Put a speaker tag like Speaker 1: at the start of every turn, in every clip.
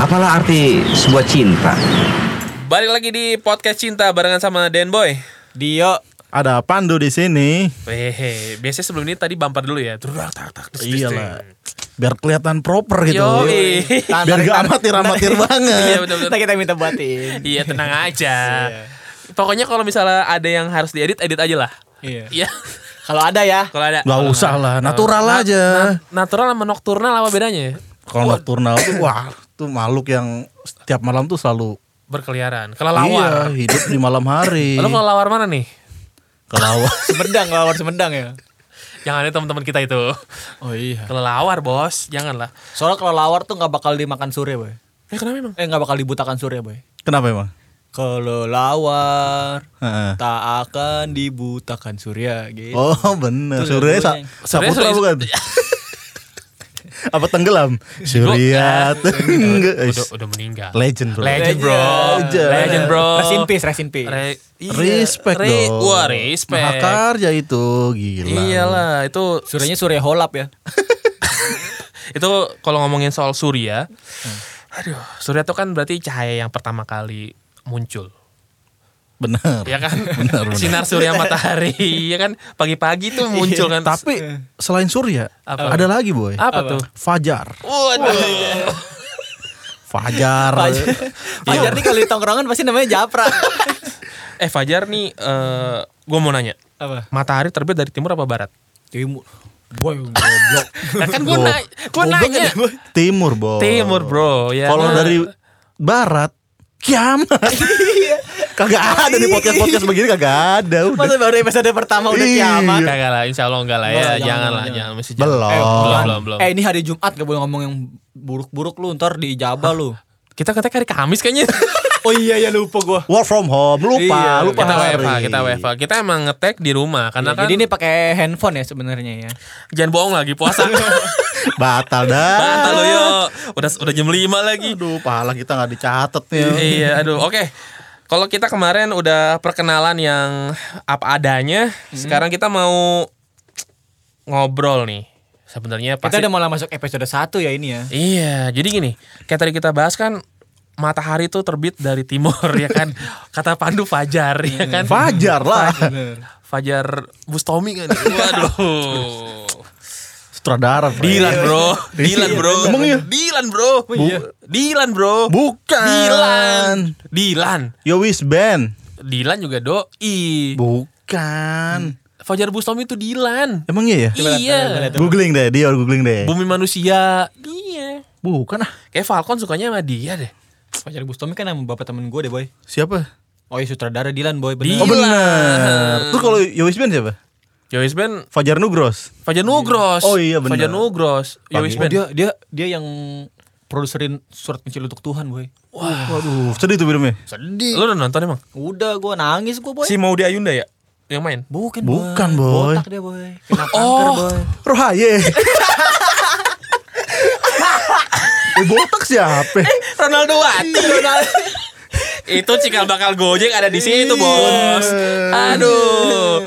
Speaker 1: apalah arti sebuah cinta?
Speaker 2: Balik lagi di podcast cinta barengan sama Den Boy.
Speaker 3: Dio
Speaker 4: Ada Pandu di sini.
Speaker 2: Wehe, biasanya sebelum ini tadi bumper dulu ya. Terus tak tak terus
Speaker 4: Iya lah. Biar kelihatan proper gitu.
Speaker 2: Yo,
Speaker 4: Biar gak amatir-amatir
Speaker 2: Iya
Speaker 4: banget.
Speaker 2: betul
Speaker 3: Kita kita minta Iya. batin
Speaker 2: Iya tenang aja. Pokoknya kalau misalnya ada yang harus diedit, edit aja lah.
Speaker 3: Iya
Speaker 2: Iya.
Speaker 3: Kalau ada ya
Speaker 2: Kalau ada. Eh,
Speaker 4: Gak usah lah, natural
Speaker 2: Na-
Speaker 4: aja.
Speaker 2: na- natural sama nokturnal apa bedanya? ya?
Speaker 4: Kalau nocturnal tuh wah, tuh makhluk yang setiap malam tuh selalu
Speaker 2: Berkeliaran. Kelelawar.
Speaker 4: Iya, hidup di malam hari.
Speaker 2: Lalu kelelawar mana nih?
Speaker 4: Kelawar.
Speaker 3: Semedang kalau harus semedang ya
Speaker 2: Jangan ada teman-teman kita itu.
Speaker 3: Oh iya
Speaker 2: Kelelawar, Bos. Janganlah.
Speaker 3: Soalnya kalau lawar tuh gak bakal dimakan sore boy
Speaker 2: Eh kenapa emang?
Speaker 3: Eh gak bakal dibutakan sore boy
Speaker 4: Kenapa emang?
Speaker 3: Kalau lawar
Speaker 4: Heeh.
Speaker 3: Tak akan dibutakan surya gitu
Speaker 4: Oh bener,
Speaker 3: Itu
Speaker 4: Surya sa
Speaker 3: lagunya.
Speaker 2: Surya-
Speaker 4: Saputra bukan? Apa tenggelam? Surya tenggelam.
Speaker 2: Udah, udah meninggal.
Speaker 4: Legend bro.
Speaker 2: Legend, bro.
Speaker 4: Legend.
Speaker 2: Legend, bro.
Speaker 3: Rest in peace, rest in peace.
Speaker 2: Re- iya.
Speaker 4: Respect
Speaker 2: Re-
Speaker 4: dong.
Speaker 2: Wah, respect. Iya.
Speaker 4: Mahakarya itu gila.
Speaker 2: Iyalah, itu
Speaker 3: Suryanya surya holap ya
Speaker 2: itu kalau ngomongin soal surya. Aduh, surya itu kan berarti cahaya yang pertama kali muncul.
Speaker 4: Bener.
Speaker 2: Ya kan?
Speaker 4: Benar, benar. Iya,
Speaker 2: Sinar surya matahari, ya kan? Pagi-pagi tuh muncul kan.
Speaker 4: Tapi
Speaker 3: Eh.
Speaker 4: selain Surya,
Speaker 2: Apa?
Speaker 4: ada lagi boy.
Speaker 2: apa tuh?
Speaker 4: Fajar.
Speaker 2: Waduh.
Speaker 4: Fajar. Iya.
Speaker 3: Fajar nih kalau di tongkrongan pasti namanya Japra
Speaker 2: Eh Fajar nih eh gue mau nanya.
Speaker 3: Apa?
Speaker 2: Matahari terbit dari timur apa barat?
Speaker 3: Timur Boy goblok kan,
Speaker 2: Nah, kan gue
Speaker 4: Gob-
Speaker 2: nanya, gue nanya.
Speaker 4: Timur boy.
Speaker 2: Timur bro, ya.
Speaker 4: Kalau
Speaker 2: Nah.
Speaker 4: dari barat, kiamat.
Speaker 3: Iya.
Speaker 4: kagak ada di podcast podcast begini kagak ada udah.
Speaker 3: Masa baru episode pertama udah
Speaker 4: Iya.
Speaker 3: kiamat
Speaker 2: Kagak lah, insya Allah enggak lah ya.
Speaker 3: Enggak, jangan,
Speaker 2: Jangan lah,
Speaker 3: jangan.
Speaker 2: jangan. Masih jangan.
Speaker 4: Belum.
Speaker 3: Eh,
Speaker 2: Belum,
Speaker 3: bukan.
Speaker 2: belum, belum.
Speaker 3: Eh ini hari Jumat gak boleh ngomong yang buruk-buruk lu ntar di Jabal lu.
Speaker 2: Kita katanya hari Kamis kayaknya.
Speaker 3: Oh iya ya lupa gua.
Speaker 4: Work from home, lupa,
Speaker 3: Iya,
Speaker 4: lupa
Speaker 2: kita
Speaker 4: hari.
Speaker 2: WFH, kita WFH. Kita emang ngetek di rumah karena kan
Speaker 3: Jadi ini pakai handphone ya sebenarnya ya.
Speaker 2: jangan bohong lagi puasa.
Speaker 4: Batal dah.
Speaker 2: Batal lo yo. Udah udah jam 5 lagi.
Speaker 4: Aduh, pala kita nggak dicatat nih.
Speaker 2: iya, aduh. Oke. Kalau kita kemarin udah perkenalan yang apa adanya, sekarang kita mau ngobrol nih. Sebenarnya
Speaker 3: Kita
Speaker 2: pasti
Speaker 3: udah mulai masuk episode 1 ya ini ya.
Speaker 2: Iya, jadi gini, kayak tadi kita bahas kan matahari itu terbit dari timur ya kan. Kata Pandu Fajar ya
Speaker 4: Hmm.
Speaker 2: kan.
Speaker 4: Fajar lah.
Speaker 2: Fajar Bustomi kan. Waduh.
Speaker 4: Sutradara. Fred.
Speaker 2: Dilan bro, Dilan bro,
Speaker 4: Emang iya?
Speaker 2: Dilan bro, Iya. Dilan bro,
Speaker 4: Bukan.
Speaker 2: Dilan, Dilan,
Speaker 4: Yowis Band.
Speaker 2: Dilan juga doi.
Speaker 4: Bukan.
Speaker 2: Fajar Bustomi itu Dilan.
Speaker 4: Emang iya ya?
Speaker 2: Iya.
Speaker 4: Googling deh, dia googling deh.
Speaker 2: Bumi manusia. Iya.
Speaker 4: Bukan ah.
Speaker 2: Kayak Falcon sukanya sama dia deh.
Speaker 3: Fajar Bustomi kan nama bapak temen gue deh boy.
Speaker 4: Siapa?
Speaker 3: Oh iya sutradara Dilan boy
Speaker 2: Di-
Speaker 3: bener.
Speaker 4: Oh benar. Tuh kalau Yowis Band siapa?
Speaker 2: Yowis Ben
Speaker 4: Fajar Nugros.
Speaker 2: Fajar Nugros.
Speaker 4: Oh iya, benar.
Speaker 2: Fajar Nugros. Yowis
Speaker 3: Oh,
Speaker 2: Ben.
Speaker 3: dia dia dia yang produserin surat pensil untuk Tuhan boy.
Speaker 4: Waduh, Uh, sedih tuh filmnya.
Speaker 2: Lu udah nonton emang?
Speaker 3: Udah gua nangis gua boy.
Speaker 2: Si Maudi Ayunda ya yang main.
Speaker 3: Bukan,
Speaker 4: Bukan, boy.
Speaker 3: Botak dia boy. Kena kanker
Speaker 2: Oh.
Speaker 3: boy.
Speaker 4: Rohaye. eh, botak siapa?
Speaker 2: Ronaldo Wati. itu cikal bakal Gojek ada di situ, Bos. Aduh.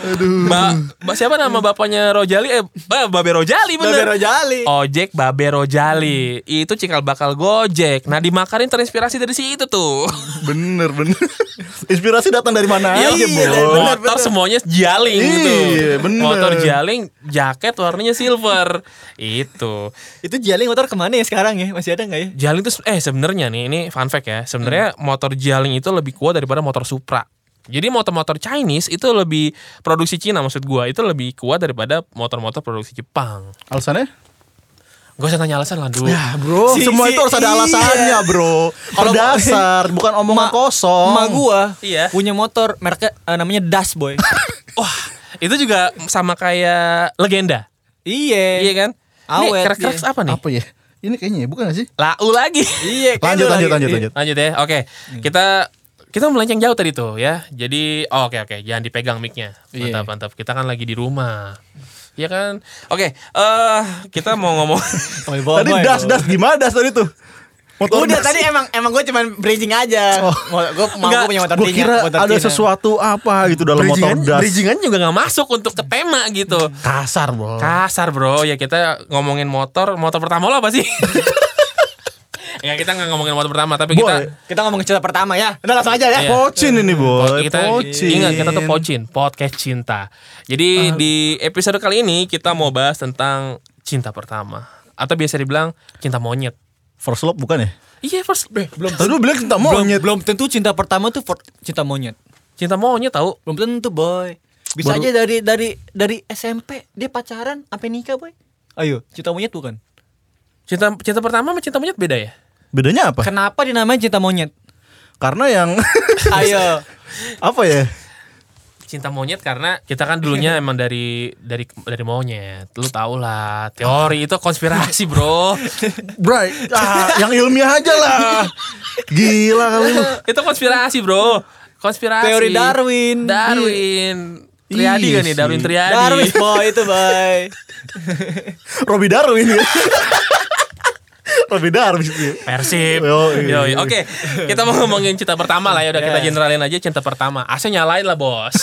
Speaker 2: Ba- ba- siapa nama bapaknya Rojali? Eh, ba- Babe Rojali bener.
Speaker 3: Babe Rojali.
Speaker 2: Ojek Babe Rojali. Itu cikal bakal Gojek. Nah, dimakarin terinspirasi dari situ tuh.
Speaker 4: bener bener. Inspirasi datang dari mana
Speaker 2: Iya,
Speaker 4: aja,
Speaker 2: bener,
Speaker 4: Bro?
Speaker 2: motor semuanya jaling gitu.
Speaker 4: Iya, bener.
Speaker 2: Motor jaling, jaket warnanya silver. itu.
Speaker 3: Itu Jaling motor kemana ya sekarang ya? Masih ada nggak ya?
Speaker 2: Jaling tuh se- eh sebenarnya nih ini fun fact ya. Sebenarnya motor Jaling itu lebih kuat daripada motor Supra. Jadi motor-motor Chinese itu lebih produksi Cina maksud gua itu lebih kuat daripada motor-motor produksi Jepang.
Speaker 4: Alasannya?
Speaker 2: Gak usah nanya alasan lah dulu.
Speaker 4: Ya, Bro,
Speaker 3: Si-
Speaker 4: semua
Speaker 3: si-
Speaker 4: itu harus ada
Speaker 3: iya.
Speaker 4: alasannya, Bro. Kalau dasar, bukan omongan
Speaker 3: Ma-
Speaker 4: kosong.
Speaker 3: Emak gua
Speaker 2: Iya.
Speaker 3: punya motor mereknya eh, namanya Das boy.
Speaker 2: Wah, itu juga sama kayak legenda.
Speaker 3: iya.
Speaker 2: iya kan? ini
Speaker 3: awet,
Speaker 2: krek-krek
Speaker 3: iya.
Speaker 2: apa nih?
Speaker 4: Apa ya? Ini kayaknya ya, bukan gak sih?
Speaker 2: Lau lagi.
Speaker 3: Iya. kayak
Speaker 4: Lanjut
Speaker 3: lu
Speaker 4: lanjut
Speaker 3: lagi-
Speaker 4: lanjut lanjut.
Speaker 2: Lanjut ya. Oke.
Speaker 4: Hmm.
Speaker 2: Kita kita melenceng jauh tadi tuh ya. Jadi oh, oke oke, jangan dipegang mic-nya.
Speaker 4: Iya.
Speaker 2: Mantap mantap. Kita kan lagi di rumah. Iya kan? Oke, eh kita mau ngomong
Speaker 3: Boy, boy,
Speaker 4: tadi
Speaker 3: boy,
Speaker 4: das
Speaker 3: boy.
Speaker 4: das gimana das tadi tuh? Motor
Speaker 3: Udah
Speaker 4: das.
Speaker 3: tadi emang emang gue cuman bridging aja.
Speaker 4: Oh.
Speaker 3: Mau Gue mau
Speaker 2: Enggak,
Speaker 3: gua punya motor
Speaker 4: Gue
Speaker 3: Cina,
Speaker 4: kira
Speaker 3: motor
Speaker 4: ada
Speaker 3: Cina.
Speaker 4: sesuatu apa gitu dalam motor
Speaker 2: bridgingan,
Speaker 4: das.
Speaker 2: bridgingan juga nggak masuk untuk ke tema gitu.
Speaker 4: Kasar, Bro.
Speaker 2: Kasar, Bro. Ya kita ngomongin motor, motor pertama lo apa sih? ya kita nggak ngomongin motor pertama tapi
Speaker 4: Boy.
Speaker 2: kita
Speaker 3: Kita ngomong cerita pertama ya.
Speaker 4: Udah langsung aja ya.
Speaker 2: Iya.
Speaker 4: Pocin ini boy.
Speaker 2: kita
Speaker 4: pocin.
Speaker 2: ingat kita tuh pocin podcast cinta. Jadi di episode kali ini kita mau bahas tentang cinta pertama atau biasa dibilang cinta monyet.
Speaker 4: First love bukan ya?
Speaker 2: Iya first
Speaker 3: Belum
Speaker 4: Tadi lu bilang cinta monyet.
Speaker 3: Belum, belum tentu cinta pertama tuh for- cinta monyet.
Speaker 2: cinta monyet tahu
Speaker 3: Belum tentu, boy. Bisa
Speaker 4: Baru-
Speaker 3: aja dari dari dari SMP dia pacaran sampai nikah, boy. Ayo, cinta monyet bukan?
Speaker 2: cinta cinta pertama sama cinta monyet beda ya.
Speaker 4: Bedanya apa?
Speaker 3: Kenapa dinamain cinta monyet?
Speaker 4: Karena yang
Speaker 3: Ayo.
Speaker 4: apa ya?
Speaker 2: Cinta monyet karena kita kan dulunya emang dari dari dari monyet. Lu tau lah teori itu konspirasi bro.
Speaker 4: Bright. Ah, yang ilmiah aja lah. Gila kali lu.
Speaker 2: itu konspirasi bro. Konspirasi.
Speaker 3: Teori Darwin.
Speaker 2: Darwin. Triadi kan nih
Speaker 4: Iya sih.
Speaker 2: Darwin Triadi.
Speaker 3: Darwis boy itu, boy.
Speaker 4: Robi Darwin ya. Robi Darwin sih.
Speaker 2: Persib.
Speaker 4: Yoi.
Speaker 2: Yoi. Oke, kita mau ngomongin cinta pertama lah ya udah kita
Speaker 3: Yes.
Speaker 2: generalin aja cinta pertama. AC nyalain lah, Bos.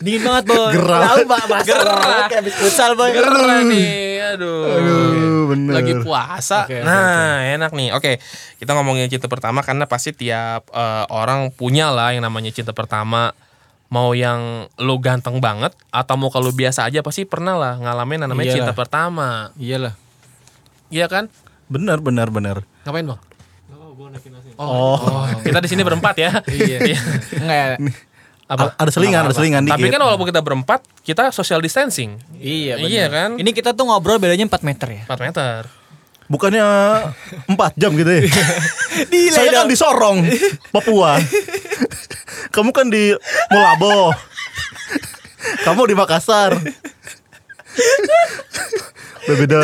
Speaker 3: Dingin banget, boy.
Speaker 4: Gerah.
Speaker 3: Tahu, Pak, bahasa
Speaker 2: Gerah.
Speaker 3: orang kayak habis futsal, boy.
Speaker 2: Gerah nih. Aduh.
Speaker 4: Aduh, bener.
Speaker 2: Lagi puasa.
Speaker 3: Oke, oke,
Speaker 2: nah, enak nih. Oke, kita ngomongin cinta pertama karena pasti tiap eh, orang punya lah yang namanya cinta pertama. Mau yang lu ganteng banget atau mau kalau biasa aja pasti pernah lah ngalamin yang namanya
Speaker 3: Iyalah.
Speaker 2: cinta pertama.
Speaker 3: Iyalah.
Speaker 2: Iya kan?
Speaker 4: Benar benar benar.
Speaker 2: Ngapain, Bang? Oh, oh, kita di sini berempat ya. Iya.
Speaker 3: Enggak.
Speaker 2: apa?
Speaker 4: A- ada selingan, ada selingan
Speaker 2: Tapi
Speaker 4: dikit.
Speaker 2: kan walaupun kita berempat, kita social distancing.
Speaker 3: Iya, bener.
Speaker 2: Iya kan?
Speaker 3: Ini kita tuh ngobrol bedanya 4 meter ya.
Speaker 2: 4 meter.
Speaker 4: Bukannya 4 jam gitu ya.
Speaker 3: Delay
Speaker 4: Saya kan
Speaker 3: dong.
Speaker 4: di Sorong, Papua. Kamu kan di Molabo. Kamu di Makassar. Berbeda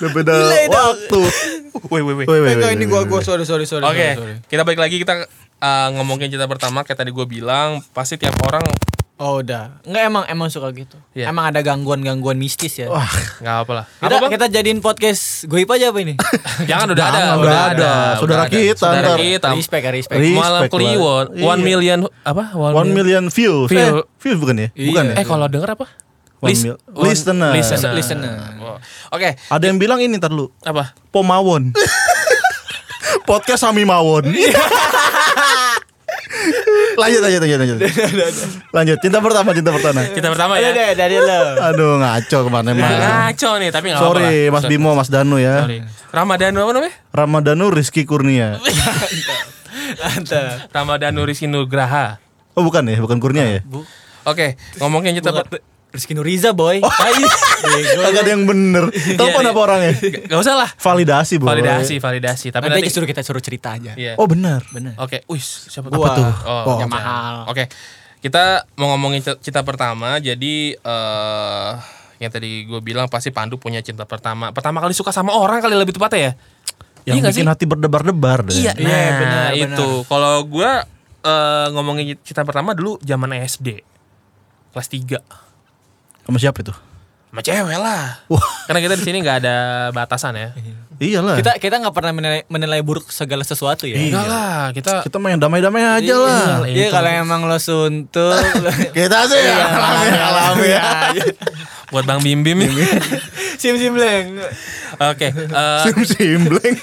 Speaker 4: berbeda
Speaker 3: Delay dong.
Speaker 4: waktu.
Speaker 2: Woi, woi, woi.
Speaker 4: Woi, woi,
Speaker 3: Enggak,
Speaker 4: woi,
Speaker 3: ini
Speaker 4: woi,
Speaker 3: gua
Speaker 4: woi.
Speaker 3: gua sorry sorry sorry.
Speaker 2: Oke,
Speaker 3: sorry, sorry.
Speaker 2: kita balik lagi kita eh, ngomongin cinta pertama kayak tadi gue bilang pasti tiap orang
Speaker 3: Oh udah. Enggak emang emang suka gitu.
Speaker 2: Iya.
Speaker 3: Emang ada gangguan-gangguan mistis ya.
Speaker 4: Wah,
Speaker 2: nggak apa lah.
Speaker 3: Kita, kita jadiin podcast goib aja apa ini?
Speaker 2: Jangan udah ada,
Speaker 4: Jangan, udah ada. Saudara
Speaker 2: udah ada.
Speaker 4: kita,
Speaker 2: saudara
Speaker 4: ntar.
Speaker 2: kita.
Speaker 3: respect ya, respect.
Speaker 4: Respect
Speaker 2: Malam
Speaker 4: lah.
Speaker 2: Kliwon, one
Speaker 4: Iya.
Speaker 2: million apa? One,
Speaker 4: One million view.
Speaker 2: View.
Speaker 4: Eh, view bukan ya? Bukan ya?
Speaker 2: Eh kalau denger apa?
Speaker 4: One
Speaker 2: Lis-
Speaker 4: mil-
Speaker 2: one-
Speaker 4: listener.
Speaker 2: Listener.
Speaker 3: Listener.
Speaker 2: Oh. Oke,
Speaker 4: Ada yang bilang ini ntar dulu.
Speaker 2: apa?
Speaker 4: Pomawon. Podcast Sami Mawon.
Speaker 3: Iya.
Speaker 4: lanjut, lanjut, lanjut, lanjut. lanjut, cinta pertama, cinta pertama.
Speaker 2: Cinta pertama
Speaker 3: Udah
Speaker 2: ya.
Speaker 3: deh dari lo.
Speaker 4: Aduh, ngaco kemana mana
Speaker 2: Ngaco nih, tapi nggak apa-apa.
Speaker 4: Sorry,
Speaker 2: lah.
Speaker 4: Mas Bimo, Mas Danu ya.
Speaker 2: Iya. Sorry. Ramadan apa namanya?
Speaker 4: Ramadhanu Rizky Kurnia.
Speaker 3: Mantap.
Speaker 2: Ramadan Nurisi Nugraha.
Speaker 4: Oh bukan ya, bukan Kurnia ya.
Speaker 2: Oke, ngomongin cinta pertama.
Speaker 3: Rizky Nuriza boy. Iya,
Speaker 4: Kagak ada yang bener. Telepon apa orangnya?
Speaker 2: Gak usah lah.
Speaker 4: Validasi, Bro.
Speaker 2: Validasi, validasi. Tapi
Speaker 3: Nanti
Speaker 2: nanti.
Speaker 3: aja suruh kita suruh cerita aja.
Speaker 2: Iya.
Speaker 4: Oh benar.
Speaker 3: Bener.
Speaker 2: Oke, uis siapa
Speaker 3: Gua.
Speaker 2: tuh?
Speaker 4: Wow.
Speaker 2: Oh, yang mahal. Oke. Kita mau ngomongin c- cinta pertama. Jadi eh yang tadi gue bilang pasti Pandu punya cinta pertama. Pertama kali suka sama orang kali lebih tepatnya ya.
Speaker 4: Yang
Speaker 2: nggak
Speaker 4: bikin hati berdebar-debar deh.
Speaker 2: Iya,
Speaker 3: Iya,
Speaker 2: nah,
Speaker 3: benar,
Speaker 2: itu. Kalau gue eh ngomongin cinta pertama dulu zaman SD. Kelas 3.
Speaker 4: Sama siapa itu?
Speaker 2: Sama cewek lah.
Speaker 4: Wah,
Speaker 2: Karena kita di sini nggak ada batasan ya.
Speaker 3: Iya.
Speaker 4: iyalah. Kita
Speaker 3: Kita kita nggak pernah menilai, menilai buruk segala sesuatu ya.
Speaker 2: Enggak lah, kita
Speaker 4: Iya. kita main damai-damai aja lah.
Speaker 3: Iya Gitu kalau emang lo suntuk Iya,
Speaker 4: Kita sih ya.
Speaker 2: Iya.
Speaker 3: alami alami ya.
Speaker 2: buat Bang Bim Bim. Oke,
Speaker 3: Sim sim leng.
Speaker 2: eh,
Speaker 4: Sim simbleng.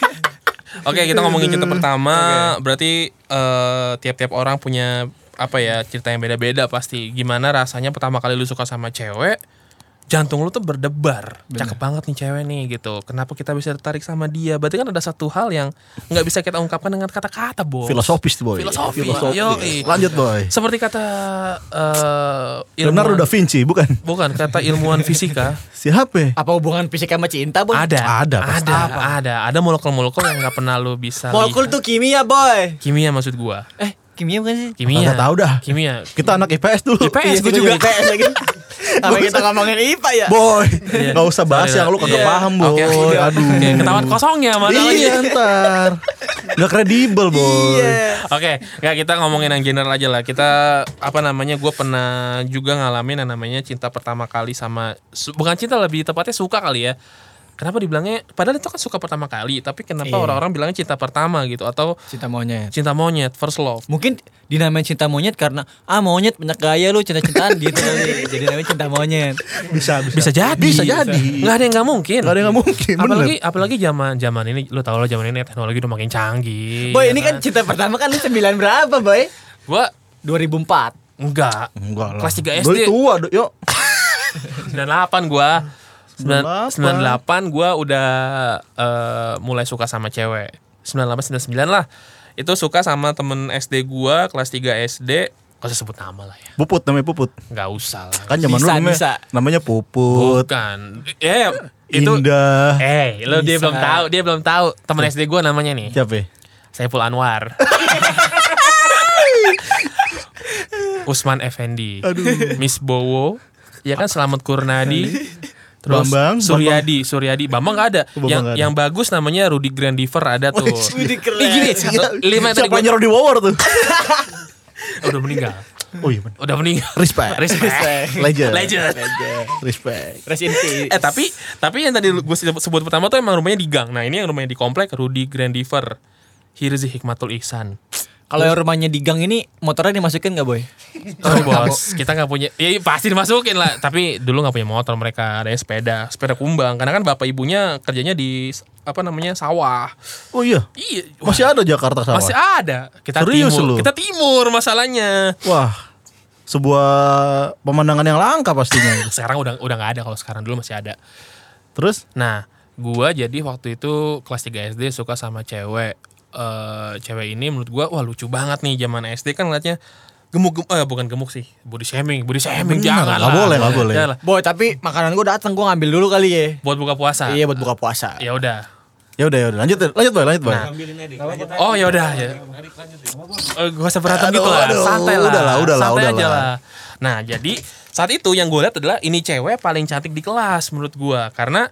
Speaker 2: oke kita ngomongin cerita pertama. Berarti eh, tiap-tiap orang punya apa ya cerita yang beda-beda pasti. Gimana rasanya pertama kali lu suka sama cewek? Jantung lu tuh berdebar, cakep banget nih cewek nih gitu. Kenapa kita bisa tertarik sama dia? Berarti kan ada satu hal yang nggak bisa kita ungkapkan dengan kata-kata, bos.
Speaker 4: Filosofis tuh boy.
Speaker 2: Filosofi.
Speaker 4: Filosofis.
Speaker 2: Yoi.
Speaker 4: Lanjut boy.
Speaker 2: Seperti kata eh,
Speaker 4: Leonardo da
Speaker 2: ilmuwan,
Speaker 4: Vinci bukan?
Speaker 2: bukan kata ilmuwan fisika.
Speaker 4: Siapa?
Speaker 3: Apa hubungan fisik sama cinta boy?
Speaker 2: ada
Speaker 4: Ada, pasti.
Speaker 2: ada ada ada molekul-molekul yang nggak pernah lu bisa lihat.
Speaker 3: Molekul tuh kimia boy.
Speaker 2: kimia maksud gua
Speaker 3: Nah, iya. Eh kimia bukan sih?
Speaker 2: kimia
Speaker 4: Nggak tahu dah.
Speaker 2: kimia
Speaker 4: Kita anak IPS dulu.
Speaker 2: IPS
Speaker 3: Iya,
Speaker 2: gua
Speaker 3: kita
Speaker 2: juga
Speaker 3: IPS lagi. Apa kita ngomongin IPA ya?
Speaker 4: Boy,
Speaker 2: Iya.
Speaker 4: nggak usah bahas
Speaker 2: Sorry,
Speaker 4: yang lu
Speaker 2: Dak.
Speaker 4: kagak
Speaker 2: Iya.
Speaker 4: paham boy.
Speaker 2: Oke, oke.
Speaker 4: Aduh.
Speaker 2: Oke, ketahuan ya, kosongnya masalahnya
Speaker 4: Iya ntar. Gak kredibel boy.
Speaker 2: Iya. Oke, nggak kita ngomongin yang general aja lah. Kita apa namanya? Gue pernah juga ngalamin yang namanya cinta pertama kali sama su- bukan cinta lebih tepatnya suka kali ya. Kenapa dibilangnya padahal itu kan suka pertama kali, tapi kenapa
Speaker 3: Iya.
Speaker 2: orang-orang bilangnya cinta pertama gitu atau
Speaker 3: Cinta monyet.
Speaker 2: cinta monyet first love.
Speaker 3: Mungkin dinamain cinta monyet karena ah monyet banyak gaya lu cinta-cintaan gitu kali. Jadi namanya cinta monyet.
Speaker 4: Bisa, bisa.
Speaker 2: Bisa jadi.
Speaker 4: Bisa jadi.
Speaker 2: Nggak ada yang nggak mungkin.
Speaker 4: Nggak ada yang nggak mungkin, bener.
Speaker 2: Apalagi apalagi zaman zaman ini lu tau lah zaman ini teknologi udah makin canggih. ya
Speaker 3: Boy, ini kan cinta pertama kan lu 9 berapa, Boy?
Speaker 2: gua
Speaker 3: 2004.
Speaker 2: enggak.
Speaker 4: Enggak lah.
Speaker 2: Kelas 3
Speaker 4: Doi
Speaker 2: SD.
Speaker 4: tua, do- yuk.
Speaker 2: 98 gua. Sembilan-
Speaker 4: 98.
Speaker 2: 98 gua udah eh, mulai suka sama cewek. 98 99 lah. Itu suka sama temen SD gua kelas 3 SD. Kok saya sebut nama lah ya?
Speaker 4: Puput namanya Puput.
Speaker 2: Nggak usah lah.
Speaker 4: Kan zaman
Speaker 3: Bisa,
Speaker 4: dulu namanya,
Speaker 3: bisa.
Speaker 4: namanya Puput.
Speaker 2: Bukan. Eh, itu
Speaker 4: Indah.
Speaker 2: Eh, lo dia
Speaker 3: Bisa.
Speaker 2: belum tahu, dia belum tahu. Teman SD gua namanya nih.
Speaker 4: Siapa? ya?
Speaker 2: Saiful Anwar. Usman Effendi. Miss Bowo. Ya kan Selamat Kurnadi. Terus
Speaker 4: Bambang,
Speaker 2: Suryadi, Suryadi, Bambang gak ada.
Speaker 4: Bambang
Speaker 2: yang
Speaker 4: nggak ada. Oh,
Speaker 2: yang bagus namanya Rudy Grandiver ada tuh.
Speaker 3: Wih, keren.
Speaker 2: Ih, gini,
Speaker 4: Iya,
Speaker 2: lima yang tadi
Speaker 4: Siapa
Speaker 2: gua-
Speaker 4: nyuruh di Wawor tuh?
Speaker 2: udah meninggal.
Speaker 4: Oh iya bener.
Speaker 2: Udah meninggal.
Speaker 4: Respect.
Speaker 2: Respect.
Speaker 4: Legend.
Speaker 2: Legend.
Speaker 4: Oh, Respect.
Speaker 3: Rest in peace.
Speaker 2: Eh tapi tapi yang tadi gue sebut pertama tuh emang rumahnya di gang. Nah ini yang rumahnya di komplek Rudy Grandiver. Hirzi Hikmatul Ihsan.
Speaker 3: Kalau yang rumahnya di gang ini motornya dimasukin nggak boy?
Speaker 2: Sorry bos, kita nggak punya. Ya pasti dimasukin lah. Tapi dulu nggak punya motor mereka, ada sepeda, sepeda kumbang. Karena kan bapak ibunya kerjanya di apa namanya sawah.
Speaker 4: Oh iya.
Speaker 2: Iya. wah,
Speaker 4: Masih ada Jakarta sama.
Speaker 2: masih ada. Kita
Speaker 4: Serius
Speaker 2: timur.
Speaker 4: lu?
Speaker 2: Kita timur masalahnya.
Speaker 4: Wah. Sebuah pemandangan yang langka pastinya.
Speaker 2: Sekarang udah udah nggak ada kalau sekarang dulu masih ada.
Speaker 4: Terus
Speaker 2: Nah, gua jadi waktu itu kelas 3 SD suka sama cewek. Eh cewek ini menurut gua wah lucu banget nih zaman SD kan ngeliatnya gemuk, gemuk eh, bukan gemuk sih, body shaming, body shaming jangan.
Speaker 4: Benar, nggak
Speaker 2: lah.
Speaker 4: boleh, nggak boleh.
Speaker 2: Jangan lah.
Speaker 3: Boy tapi makanan gue datang gue ngambil dulu kali ya.
Speaker 2: Buat buka puasa.
Speaker 3: Iya buat buka puasa.
Speaker 2: Ya udah,
Speaker 4: ya udah ya udah lanjut lanjut boy lanjut boy.
Speaker 2: Nah. Oh ya udah ya. Eh, Gak usah berantem
Speaker 4: Aduh,
Speaker 2: gitu lah,
Speaker 4: aduh,
Speaker 2: santai lah,
Speaker 4: udah lah, udah lah,
Speaker 2: santai
Speaker 4: udah
Speaker 2: aja
Speaker 4: lah.
Speaker 2: lah. Nah jadi saat itu yang gue lihat adalah ini cewek paling cantik di kelas menurut gue karena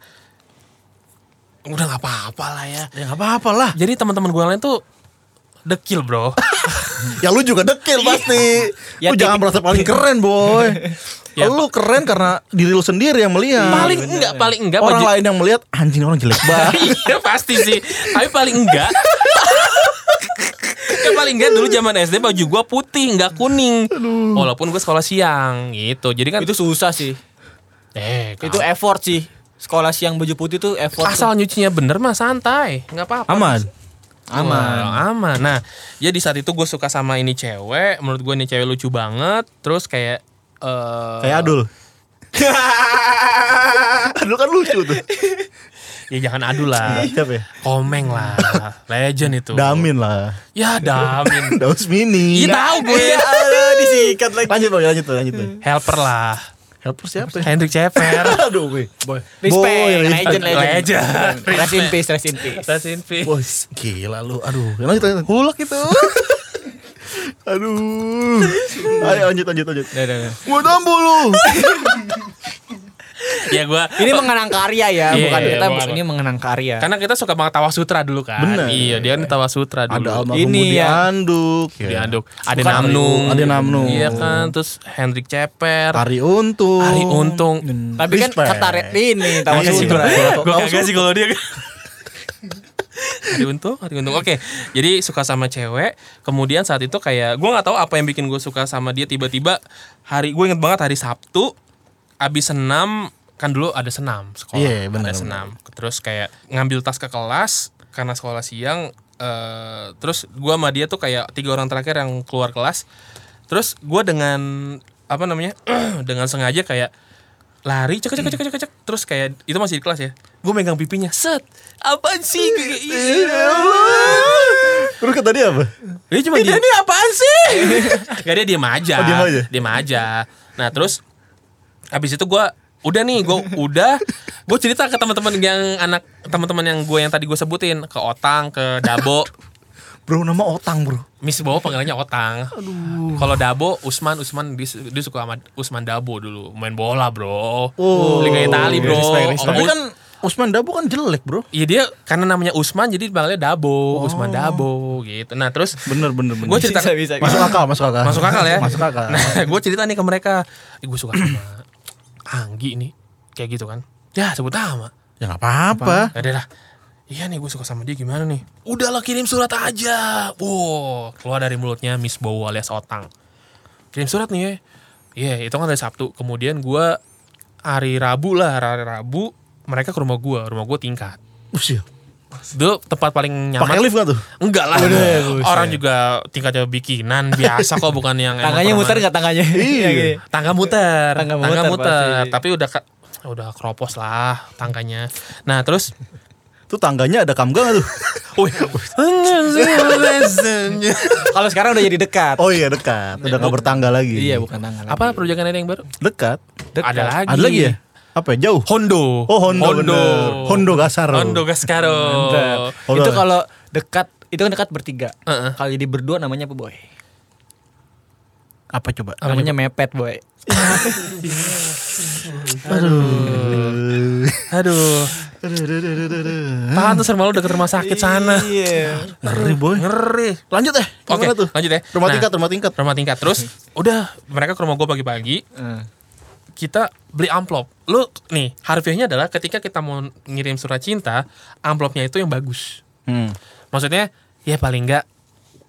Speaker 2: udah nggak apa-apa lah ya.
Speaker 4: Ya nggak apa-apa lah.
Speaker 2: Jadi teman-teman gue lain tuh dekil bro.
Speaker 4: Ya lu juga dekil pasti.
Speaker 3: Ya,
Speaker 4: lu
Speaker 3: tipik-
Speaker 4: jangan merasa paling keren, boy.
Speaker 2: Ya,
Speaker 4: lu keren karena diri lu sendiri yang melihat.
Speaker 2: paling enggak, paling enggak.
Speaker 4: Iya, orang
Speaker 2: baju-
Speaker 4: lain yang melihat anjing orang jelek banget.
Speaker 2: Iya pasti sih. Tapi paling enggak. Ya paling enggak dulu zaman SD baju gue putih, enggak kuning. Walaupun gue sekolah siang gitu. Jadi kan
Speaker 3: Itu susah sih.
Speaker 2: eh,
Speaker 3: Itu effort sih. Sekolah siang baju putih tuh effort.
Speaker 2: Asal nyucinya bener mah santai, nggak apa-apa.
Speaker 4: Aman.
Speaker 3: aman.
Speaker 2: Wah, aman. Nah, jadi saat itu gue suka sama ini cewek. Menurut gue ini cewek lucu banget. Terus kayak eh
Speaker 4: Kayak Adul. Adul kan lucu tuh.
Speaker 2: ya jangan adu lah.
Speaker 4: Siapa ya?
Speaker 2: Komeng lah, legend itu.
Speaker 4: Damin lah.
Speaker 2: Ya Damin.
Speaker 4: Daus mini.
Speaker 2: Iya tahu gue.
Speaker 3: Aduh disikat lagi.
Speaker 4: Lanjut boy, lanjut boy, lanjut boy.
Speaker 2: Helper lah.
Speaker 4: Helper siapa? ya?
Speaker 2: Hendrik Ceper.
Speaker 4: Aduh, gue. Boy.
Speaker 3: Respect, Nah, legend, legend.
Speaker 2: legend.
Speaker 3: Rest in peace, rest in peace.
Speaker 2: Rest in peace.
Speaker 4: Boy, gila lu. Aduh, Ya, lanjut lanjut. Eh. Hulak itu. Aduh. Ayo lanjut lanjut lanjut. Gua tambu lu.
Speaker 2: Ya gue.
Speaker 3: Ini mengenang karya ya,
Speaker 2: Iya,
Speaker 3: bukan
Speaker 2: iya,
Speaker 3: kita
Speaker 2: bukan.
Speaker 3: ini mengenang karya.
Speaker 2: Karena kita suka banget Tawa Sutra dulu kan.
Speaker 4: Bener.
Speaker 2: Iya, dia kan Tawa Sutra dulu.
Speaker 4: Ada almarhum
Speaker 3: Ini
Speaker 4: Budi
Speaker 3: ya.
Speaker 4: Anduk.
Speaker 2: Budi
Speaker 4: ya.
Speaker 2: Anduk. Ada
Speaker 4: Bukan,
Speaker 2: Namnung.
Speaker 4: Ade Namnung.
Speaker 2: Iya kan, terus Hendrik Ceper, Ari,
Speaker 4: Ari Untung.
Speaker 2: Untung.
Speaker 3: Tapi kan
Speaker 4: Respect.
Speaker 3: kata re- ini tahu
Speaker 4: Iya sih,
Speaker 3: Sutra.
Speaker 4: bener.
Speaker 2: Gue kagak sih kalau dia. Ari Untung, Ari Untung. Oke, jadi suka sama cewek. Kemudian saat itu kayak gue nggak tahu apa yang bikin gue suka sama dia tiba-tiba hari gue inget banget hari Sabtu abis senam kan dulu ada senam sekolah
Speaker 4: Iya,
Speaker 2: ada
Speaker 4: benar,
Speaker 2: senam terus kayak ngambil tas ke kelas karena sekolah siang eh, terus gue sama dia tuh kayak tiga orang terakhir yang keluar kelas terus gue dengan apa namanya dengan sengaja kayak lari cek cek cek cek cek, cek terus kayak itu masih di kelas ya gue megang pipinya set apaan sih
Speaker 4: Terus kata dia apa?
Speaker 2: dia cuma dia ini apaan sih gak dia diem aja
Speaker 4: Oh, diem aja?
Speaker 2: diem aja nah terus habis itu gue udah nih gue udah gue cerita ke teman-teman yang anak teman-teman yang gue yang tadi gue sebutin ke otang ke dabo
Speaker 4: Bro nama Otang, Bro.
Speaker 2: Miss Bowo panggilannya Otang. Kalau Dabo, Usman, Usman dia, dia suka sama Usman Dabo dulu. Main bola, bro.
Speaker 4: Oh.
Speaker 2: Liga Itali, bro.
Speaker 3: Respect, respect.
Speaker 2: Om
Speaker 4: Tapi
Speaker 2: Us-
Speaker 4: kan Usman Dabu kan jelek, Bro.
Speaker 2: Iya dia karena namanya Usman jadi dipanggilnya
Speaker 4: Oh.
Speaker 2: Dabo, Usman Dabo gitu. Nah terus
Speaker 4: Bener bener
Speaker 2: gue
Speaker 4: bener.
Speaker 2: cerita
Speaker 3: Bisa, bisa.
Speaker 4: Masuk akal, masuk akal.
Speaker 2: masuk akal ya.
Speaker 4: Ah. Masuk akal.
Speaker 2: Nah gue cerita nih ke mereka, gue suka sama Anggi nih kayak gitu kan. Ya sebut nama.
Speaker 4: Ya nggak apa-apa.
Speaker 2: Ada lah. Iya nih gue suka sama dia gimana nih? Udahlah kirim surat aja. Wow, keluar dari mulutnya Miss Bowo alias Otang. Kirim surat nih ya. Iya, itu kan dari Sabtu. Kemudian gue hari Rabu lah, hari Rabu mereka ke rumah gue, rumah gue tingkat.
Speaker 4: Usia.
Speaker 2: Itu tempat paling nyaman.
Speaker 4: ya. Pakai lift nggak tuh?
Speaker 2: Enggak lah.
Speaker 4: Udah, buset.
Speaker 2: Orang juga tingkatnya bikinan biasa kok bukan yang emang
Speaker 3: Tangannya muter
Speaker 2: permanen.
Speaker 3: nggak tangannya?
Speaker 4: Iya.
Speaker 3: gini.
Speaker 2: Tangga muter.
Speaker 3: Tangga muter pasti.
Speaker 2: Tapi udah ke- udah keropos lah tangganya. Nah, terus
Speaker 4: Tuh tangganya ada kamga nggak tuh?
Speaker 2: Wih.
Speaker 3: Kalau sekarang udah jadi dekat.
Speaker 4: Oh iya dekat. Udah nggak bertangga lagi.
Speaker 3: Iya bukan tangan. lagi.
Speaker 2: Apa perjakan ada yang baru?
Speaker 4: Dekat.
Speaker 2: Ada lagi.
Speaker 4: Ada lagi ya? Apa ya? Jauh.
Speaker 2: Hondo.
Speaker 4: Oh Hondo.
Speaker 2: Hondo.
Speaker 4: bener. Hondo Gasaro.
Speaker 2: Hondo Gascaro.
Speaker 3: Mantap.
Speaker 4: Hondo.
Speaker 3: Itu kalau dekat itu kan dekat bertiga.
Speaker 2: Heeh.
Speaker 3: Kalau jadi berdua namanya apa boy?
Speaker 4: Apa coba?
Speaker 3: Namanya mepet boy.
Speaker 2: Aduh. Tahan tuh serba lu deket rumah sakit sana.
Speaker 3: Iya.
Speaker 4: Ngeri boy.
Speaker 2: Ngeri.
Speaker 4: Lanjut eh.
Speaker 2: Oke,
Speaker 4: Gimana tuh?
Speaker 2: lanjut ya.
Speaker 4: Rumah
Speaker 2: Nah.
Speaker 4: tingkat, rumah tingkat. Eh.
Speaker 2: Rumah tingkat terus udah mereka ke rumah gue pagi-pagi kita beli amplop. Lu nih, harfiahnya adalah ketika kita mau ngirim surat cinta, amplopnya itu yang bagus.
Speaker 4: Hmm.
Speaker 2: Maksudnya ya paling enggak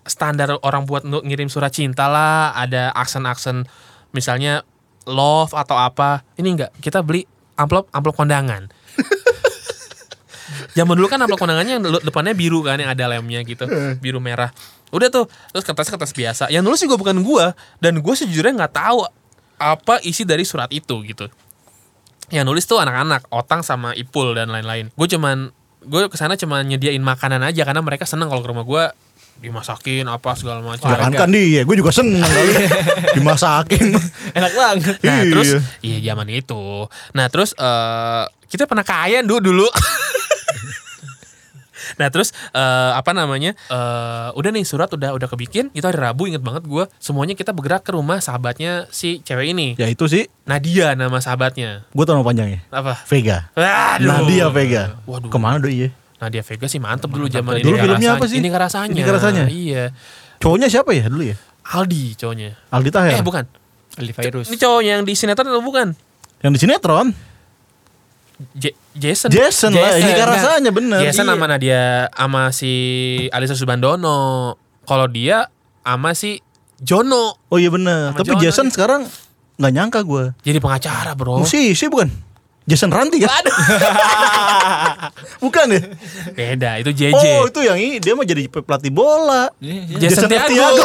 Speaker 2: standar orang buat nu- ngirim surat cinta lah, ada aksen-aksen misalnya love atau apa. Ini enggak, kita beli amplop amplop kondangan. Zaman dulu kan amplop kondangannya yang dulu- depannya biru kan yang ada lemnya gitu, biru merah. Udah tuh, terus kertasnya kertas biasa. Yang nulis juga bukan gua dan gua sejujurnya nggak tahu apa isi dari surat itu gitu yang nulis tuh anak-anak otang sama ipul dan lain-lain gue cuman gue kesana cuman nyediain makanan aja karena mereka seneng kalau ke rumah gue dimasakin apa segala macam
Speaker 4: Jangan kan dia, gue juga seneng kali. Dimasakin.
Speaker 3: Enak banget.
Speaker 2: nah
Speaker 4: Iya.
Speaker 2: terus iya zaman itu nah terus eh kita pernah kaya dulu dulu nah terus eh apa namanya eh udah nih surat udah udah kebikin itu hari rabu inget banget gue semuanya kita bergerak ke rumah sahabatnya si cewek ini
Speaker 4: Ya itu sih,
Speaker 2: Nadia nama sahabatnya
Speaker 4: gue tau nama panjangnya.
Speaker 2: apa
Speaker 4: Vega.
Speaker 2: Aduh.
Speaker 4: Nadia Vega.
Speaker 2: Waduh.
Speaker 4: Kemana doi ya?
Speaker 2: Nadia Vega sih mantep dulu zaman ini.
Speaker 4: Dulu
Speaker 2: Nggak
Speaker 4: filmnya
Speaker 2: rasanya-
Speaker 4: apa sih?
Speaker 2: Ini nggak rasanya.
Speaker 4: Ini nggak rasanya?
Speaker 2: Iya.
Speaker 4: Cowoknya siapa ya dulu ya?
Speaker 2: Aldi cowoknya.
Speaker 4: Aldi Taher.
Speaker 2: Eh bukan.
Speaker 3: Beli virus.
Speaker 2: Ini cowok yang di sinetron atau bukan?
Speaker 4: Yang di sinetron.
Speaker 2: J- Jason.
Speaker 4: Jason, lah, ini kan
Speaker 2: Nah,
Speaker 4: rasanya bener.
Speaker 2: Jason
Speaker 4: Iya.
Speaker 2: sama Nadia sama si Alisa Subandono. Kalau dia sama si Jono.
Speaker 4: Oh iya
Speaker 2: Sama
Speaker 4: bener. Tapi
Speaker 2: Jono
Speaker 4: Jason
Speaker 2: nih.
Speaker 4: sekarang nggak nyangka gue.
Speaker 2: Jadi pengacara bro.
Speaker 4: Musisi bukan? Jason Ranti kan?
Speaker 2: Oh. Aduh.
Speaker 4: bukan ya?
Speaker 2: Beda itu JJ.
Speaker 4: Oh itu yang ini dia mau jadi pe- pelatih bola.
Speaker 3: Iya, iya.
Speaker 2: Jason,
Speaker 4: Jason
Speaker 2: Tiago.
Speaker 4: Tiago.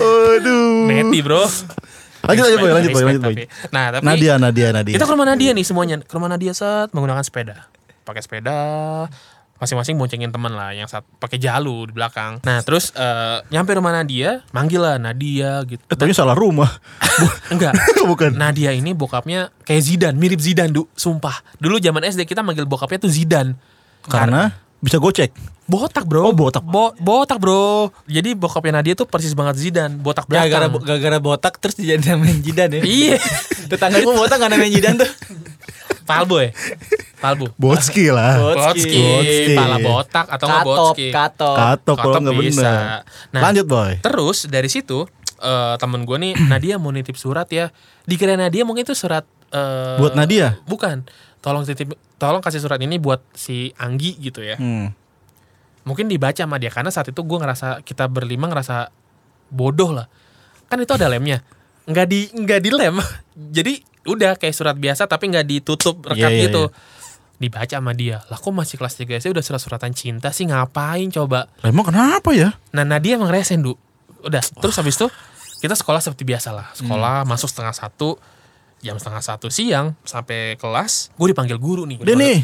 Speaker 4: Aduh.
Speaker 2: Neti bro.
Speaker 4: Lanjut aja boy,
Speaker 2: Respect,
Speaker 4: lanjut boy,
Speaker 2: respect,
Speaker 4: lanjut boy.
Speaker 2: tapi. Nah tapi.
Speaker 4: Nadia, Nadia, Nadia.
Speaker 2: Kita ke rumah Nadia nih semuanya. Ke rumah Nadia saat menggunakan sepeda. Pakai sepeda masing-masing boncengin teman lah yang saat pakai jalu di belakang. Nah, terus eh, nyampe rumah Nadia, manggil lah Nadia gitu.
Speaker 4: Eh, taunya salah rumah. Bu-
Speaker 2: Enggak.
Speaker 4: Bukan.
Speaker 2: Nadia ini bokapnya kayak Zidane, mirip Zidane, Du. Sumpah. Dulu zaman SD kita manggil bokapnya tuh Zidane.
Speaker 4: Karena bisa gocek.
Speaker 2: botak, Bro.
Speaker 4: Oh, botak.
Speaker 2: Bo- botak, Bro. Jadi bokapnya Nadia tuh persis banget Zidane, botak
Speaker 4: Ya,
Speaker 2: belakang.
Speaker 3: Gara-gara gara-gara botak terus jadi namain Jidan ya.
Speaker 2: Iya.
Speaker 3: Tetangga gue botak gak namain Jidan tuh.
Speaker 2: Palbo ya? Palbo.
Speaker 4: Botski lah.
Speaker 3: Botski.
Speaker 2: Botski, pala
Speaker 4: Botski.
Speaker 2: botak atau nggak
Speaker 3: Katop,
Speaker 2: botski.
Speaker 3: katop.
Speaker 4: Katok kalau
Speaker 2: Katok
Speaker 4: nggak
Speaker 2: bisa.
Speaker 4: benar.
Speaker 2: Nah.
Speaker 4: Lanjut boy.
Speaker 2: Terus dari situ eh temen gue nih Nadia mau nitip surat ya. Dikira Nadia mungkin itu surat eh,
Speaker 4: Buat Nadia?
Speaker 2: Bukan. Tolong titip tolong kasih surat ini buat si Anggi gitu ya.
Speaker 4: Hmm.
Speaker 2: Mungkin dibaca sama dia karena saat itu gue ngerasa kita berlima ngerasa bodoh lah. Kan itu ada lemnya. Nggak di nggak dilem. Jadi udah kayak surat biasa tapi nggak ditutup rekat
Speaker 4: Iya, iya,
Speaker 2: gitu. Dibaca sama dia. Lah kok masih kelas 3 sih udah surat-suratan cinta sih ngapain coba?
Speaker 4: Lah, Emang kenapa ya?
Speaker 2: Nah Nadia emang resen Du. Udah terus habis itu kita sekolah seperti biasa lah. Sekolah
Speaker 4: Hmm.
Speaker 2: masuk setengah satu jam setengah satu siang sampai kelas gue dipanggil guru nih.
Speaker 4: Dia nih,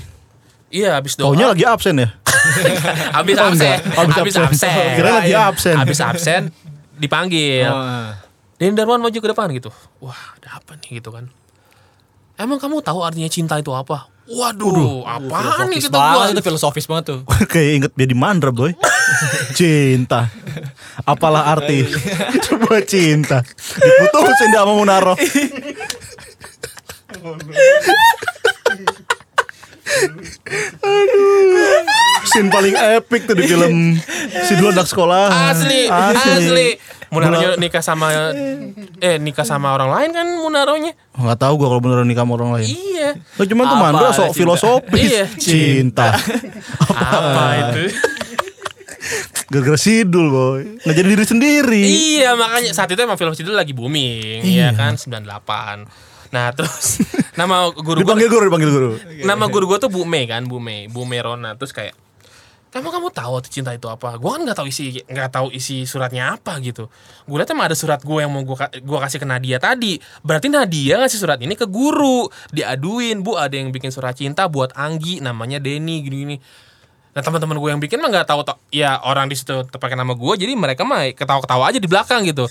Speaker 2: Iya habis doa.
Speaker 4: taunya lagi absen ya.
Speaker 2: habis absen.
Speaker 4: Oh, habis
Speaker 2: Habis
Speaker 4: absen.
Speaker 2: absen.
Speaker 4: Kira lagi absen.
Speaker 2: Habis absen dipanggil.
Speaker 3: Oh.
Speaker 2: Denny Darman maju ke depan gitu. Wah, ada apa nih gitu kan. Emang kamu tahu artinya cinta itu apa? Waduh, apaan nih
Speaker 3: Filosofis
Speaker 2: kita gua?
Speaker 3: banget itu filosofis banget tuh.
Speaker 4: Kayak inget jadi mandra boy. Cinta. Apalah arti. Coba cinta. Diputusin dia sama Munaro. Scene paling epic tuh di film si dua anak sekolah.
Speaker 2: Asli, asli. Munaronya nikah sama eh nikah sama orang lain kan Munaronya.
Speaker 4: Enggak tahu gua kalau beneran nikah sama orang lain.
Speaker 2: Iya.
Speaker 4: Lo cuman tuh
Speaker 3: Apa
Speaker 4: mandor
Speaker 3: ada
Speaker 4: sok
Speaker 3: cinta?
Speaker 4: filosofis
Speaker 2: Iya.
Speaker 4: cinta.
Speaker 2: Apa itu?
Speaker 4: Gara-gara sidul boy. Nggak jadi diri sendiri.
Speaker 2: Iya makanya saat itu emang film Sidul lagi booming ya kan 98 Nah terus nama guru gua
Speaker 4: Dipanggil guru, dipanggil guru.
Speaker 2: nama guru gua tuh Bu Mei kan Bu Mei Bu Mei Rona terus kayak kamu kamu tahu tuh cinta itu apa? Gua kan nggak tahu isi nggak tahu isi suratnya apa gitu. Gue liat emang ada surat gue yang mau gue gua kasih ke Nadia tadi. Berarti Nadia ngasih surat ini ke guru, diaduin bu ada yang bikin surat cinta buat Anggi namanya Denny gini gini. Nah teman-teman gue yang bikin mah nggak tahu to- ya orang di situ terpakai nama gue jadi mereka mah ketawa-ketawa aja di belakang gitu.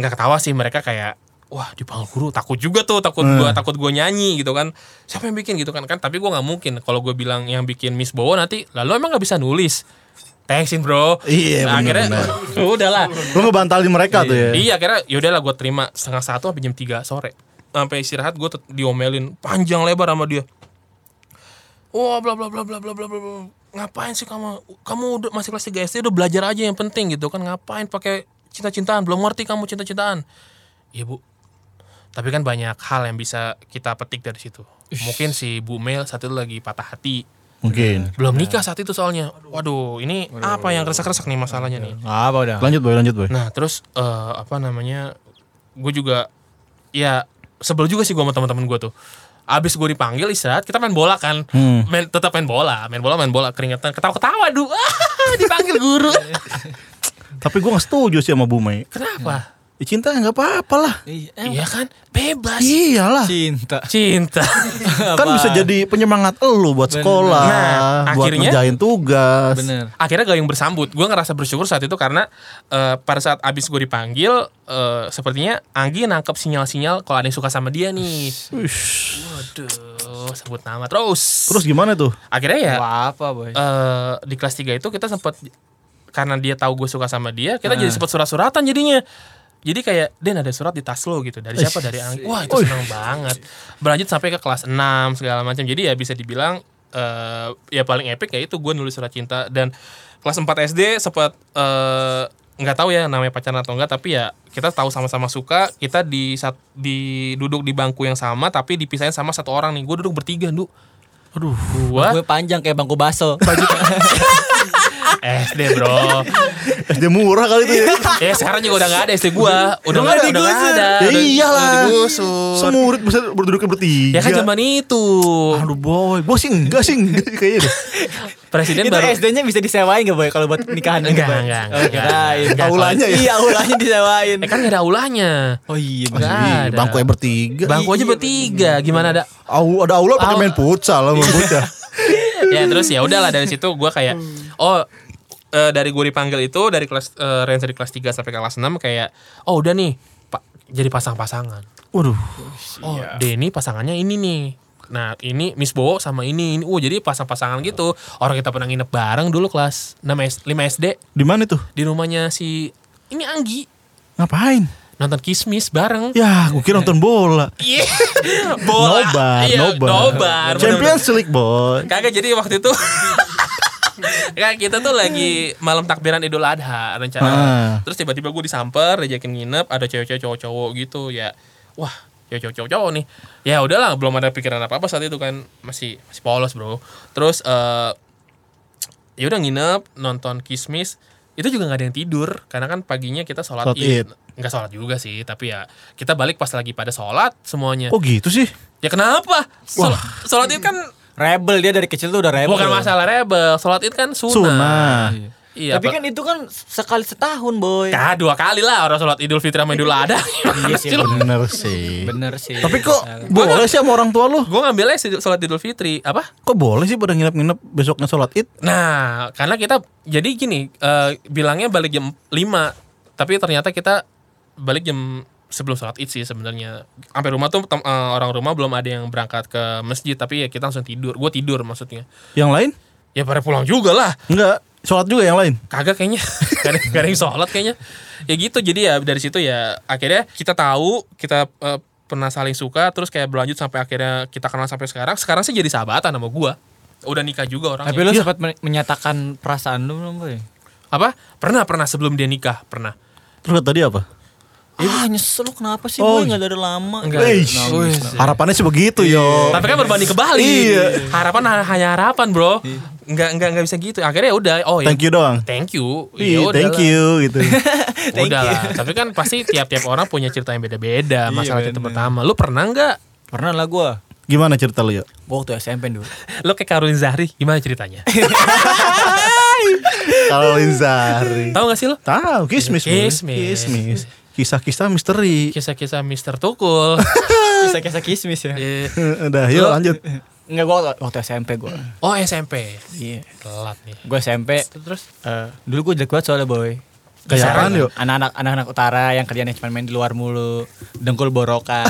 Speaker 2: Nggak ketawa sih mereka kayak wah dipanggil guru takut juga tuh takut
Speaker 4: Hmm.
Speaker 2: gua takut gue nyanyi gitu kan siapa yang bikin gitu kan kan tapi gua nggak mungkin kalau gue bilang yang bikin Miss Bowo nanti lalu emang nggak bisa nulis thanksin bro
Speaker 4: Iya,
Speaker 2: Nah,
Speaker 4: bener,
Speaker 2: akhirnya udahlah
Speaker 4: Lo ngebantalin mereka tuh ya.
Speaker 2: Iya akhirnya yaudahlah gue terima setengah satu sampai jam 3 sore sampai istirahat gue diomelin panjang lebar sama dia. Wah bla bla bla bla bla bla bla bla. ngapain sih kamu kamu udah masih kelas 3 SD udah belajar aja yang penting gitu kan ngapain pakai cinta-cintaan belum ngerti kamu cinta-cintaan. Iya bu. Tapi kan banyak hal yang bisa kita petik dari situ. Mungkin si Bu Mel saat itu lagi patah hati.
Speaker 4: Mungkin.
Speaker 2: Belum nikah saat itu soalnya. Nah. Waduh, Iya. ini apa yang keresak-keresak nih masalahnya nih.
Speaker 3: Apa udah?
Speaker 4: Lanjut boy, lanjut boy.
Speaker 2: Nah terus eh, apa namanya? Gue juga ya sebel juga sih gue sama teman-teman gue tuh. Abis gue dipanggil istirahat, kita main bola kan, main tetap main bola, main bola main bola keringetan, ketawa-ketawa duh, dipanggil guru.
Speaker 4: Tapi gua nggak setuju sih sama Bumei.
Speaker 2: Kenapa?
Speaker 4: Ya, cinta nggak apa-apa lah.
Speaker 2: Iya kan, bebas
Speaker 4: Iyalah.
Speaker 3: eh, Cinta.
Speaker 2: cinta.
Speaker 4: Kan bisa jadi penyemangat elu buat sekolah,
Speaker 2: Nah,
Speaker 4: buat
Speaker 2: akhirnya-
Speaker 4: ngerjain tugas.
Speaker 3: Bener.
Speaker 2: Akhirnya gayung bersambut. Gue ngerasa bersyukur saat itu karena eh, pada saat abis gue dipanggil, eh, sepertinya Anggi nangkep sinyal-sinyal kalau ada yang suka sama dia nih.
Speaker 4: Uish.
Speaker 2: Waduh, sebut nama terus.
Speaker 4: Terus gimana tuh?
Speaker 2: akhirnya ya
Speaker 3: Wah, apa boy?
Speaker 2: eh di kelas 3 itu kita sempat karena dia tahu gue suka sama dia, kita jadi sempat surat-suratan jadinya. Jadi kayak Den ada surat di tas lo gitu dari siapa dari Ang. Wah itu seneng banget. Berlanjut sampai ke kelas 6 segala macam. Jadi ya bisa dibilang eh ya paling epic ya itu gue nulis surat cinta dan kelas 4 SD sempat eh, nggak tahu ya namanya pacaran atau enggak tapi ya kita tahu sama-sama suka kita di sat- di duduk di bangku yang sama tapi dipisahin sama satu orang nih gue duduk bertiga du aduh gua
Speaker 3: Gue panjang kayak bangku baso.
Speaker 2: SD bro
Speaker 4: SD murah kali itu ya.
Speaker 2: Ya sekarang juga udah gak ada SD gua Udah gak ada, udah gak ada
Speaker 4: ya iyalah.
Speaker 2: Udah digusur.
Speaker 4: Semurit bisa berduduk bertiga.
Speaker 2: Ya kan zaman itu
Speaker 4: Aduh boy, gue sih enggak sih enggak kayaknya deh.
Speaker 2: Presiden
Speaker 3: Itu
Speaker 2: baru
Speaker 3: SD-nya bisa disewain gak boy kalau buat nikahan?
Speaker 2: Enggak,
Speaker 3: Boy?
Speaker 2: enggak,
Speaker 3: Oh,
Speaker 2: enggak.
Speaker 3: kirain.
Speaker 2: Enggak,
Speaker 4: Aulanya ya?
Speaker 3: Iya, aulanya disewain.
Speaker 2: Eh kan gak ada aulanya
Speaker 3: Oh iya.
Speaker 2: Enggak
Speaker 4: Ih,
Speaker 2: ada
Speaker 4: Bangku yang bertiga.
Speaker 2: Bangku aja bertiga Gimana ada
Speaker 4: Au, ada aula pakai main futsal sama bocah.
Speaker 2: Ya terus ya udahlah dari situ gua kayak Oh eh, dari gue dipanggil itu dari kelas eh, range dari kelas 3 sampai kelas 6 kayak oh udah nih Pak jadi pasang-pasangan.
Speaker 4: Waduh.
Speaker 2: Oh, Denny pasangannya ini nih. Nah, ini Miss Bowo sama ini. ini. Oh, jadi pasang-pasangan gitu. Orang kita pernah nginep bareng dulu kelas 6 S 5 SD
Speaker 4: Di mana tuh?
Speaker 2: di rumahnya si ini Anggi
Speaker 4: Ngapain?
Speaker 2: nonton Kismis bareng.
Speaker 4: Ya, gue kira nonton bola.
Speaker 2: Iya. Bola.
Speaker 4: Nobar,
Speaker 2: Iya,
Speaker 4: nobar.
Speaker 2: nobar. Bener-bener.
Speaker 4: Champions League boy.
Speaker 2: Kagak jadi waktu itu. Kan kita tuh lagi malam takbiran Idul Adha rencana.
Speaker 4: Ah.
Speaker 2: Terus tiba-tiba gue disamper, diajakin nginep, ada cewek-cewek cowok-cowok gitu ya. Wah, cewek-cowok cowok-cowok nih. Ya udahlah, belum ada pikiran apa-apa saat itu kan masih masih polos, Bro. Terus eh ya udah nginep, nonton Kismis. Itu juga nggak ada yang tidur karena kan paginya kita sholat
Speaker 4: Sholat Id.
Speaker 2: id. Nggak sholat juga sih, tapi ya kita balik pas lagi pada sholat semuanya.
Speaker 4: Oh gitu sih.
Speaker 2: Ya kenapa? Shol- Sholat id kan
Speaker 3: Rebel dia dari kecil tuh udah rebel.
Speaker 2: Bukan masalah rebel, sholat id kan sunnah.
Speaker 4: Sunnah.
Speaker 2: Iya, Pak.
Speaker 3: Tapi kan itu kan sekali setahun boy.
Speaker 2: Ya, dua kali lah orang sholat idul fitri sama idul adha.
Speaker 3: Iya sih,
Speaker 4: Bener sih.
Speaker 3: Bener sih.
Speaker 4: Tapi kok boleh sih sama orang tua lu?
Speaker 2: Gue ngambilnya si- sholat idul fitri apa?
Speaker 4: Kok boleh sih pada nginep-nginep besoknya sholat id?
Speaker 2: Nah, karena kita jadi gini eh, bilangnya balik jam 5 tapi ternyata kita balik jam sebelum sholat id sih sebenarnya. Sampai rumah tuh tem- eh, orang rumah belum ada yang berangkat ke masjid tapi ya kita langsung tidur. Gue tidur maksudnya.
Speaker 4: Yang lain?
Speaker 2: Ya pada pulang juga lah.
Speaker 4: Enggak. Sholat juga yang lain.
Speaker 2: kagak kayaknya gak ada, gak ada yang sholat kayaknya ya gitu jadi ya dari situ ya akhirnya kita tahu kita eh, pernah saling suka terus kayak berlanjut sampai akhirnya kita kenal sampai sekarang sekarang sih jadi sahabatan sama gua udah nikah juga orangnya.
Speaker 3: Tapi lu sempat men- menyatakan perasaan lu belum, Boy?
Speaker 2: apa? Pernah pernah sebelum dia nikah pernah.
Speaker 4: Terus tadi apa?
Speaker 3: Ah, nyesel lu kenapa sih,
Speaker 4: Oh,
Speaker 3: Boy? Enggak dari lama.
Speaker 4: Eish, harapannya sih begitu yo.
Speaker 2: Tapi kan berbanding kebalik.
Speaker 4: Oh, Iya.
Speaker 2: Harapan ha- hanya harapan, Bro. Enggak enggak enggak bisa gitu. Akhirnya udah oh ya.
Speaker 4: Thank you doang.
Speaker 2: Thank you. Ya
Speaker 4: Iya,
Speaker 2: udahlah.
Speaker 4: thank you gitu.
Speaker 2: Udah lah. Tapi kan pasti tiap-tiap orang punya cerita yang beda-beda
Speaker 4: Iya,
Speaker 2: masalah cinta pertama. Lu pernah nggak?
Speaker 3: Pernah lah gua.
Speaker 4: Gimana cerita lu yo?
Speaker 3: Gua waktu SMP dulu.
Speaker 2: Lu kayak Karolin Zahri, gimana ceritanya?
Speaker 4: Kalau Linzari.
Speaker 2: Tahu gak sih lu?
Speaker 4: Tahu kismis, Boy.
Speaker 2: Kismis.
Speaker 4: Kismis. Kisah-kisah misteri.
Speaker 2: Kisah-kisah Mr. Tukul.
Speaker 3: Kisah-kisah kismis
Speaker 4: Iya.
Speaker 3: ya.
Speaker 2: Eh,
Speaker 4: Udah, yuk
Speaker 2: Lu-
Speaker 4: lanjut.
Speaker 3: Enggak gua waktu- waktu SMP gua.
Speaker 2: oh SMP.
Speaker 3: Iya.
Speaker 2: Telat nih.
Speaker 3: Gua SMP
Speaker 2: Terus
Speaker 3: eh, dulu gua jelek banget soalnya, Boy.
Speaker 4: Kayak apaan, yo?
Speaker 3: Anak-anak anak-anak utara yang kerjanya cuma main di luar mulu, dengkul borokan,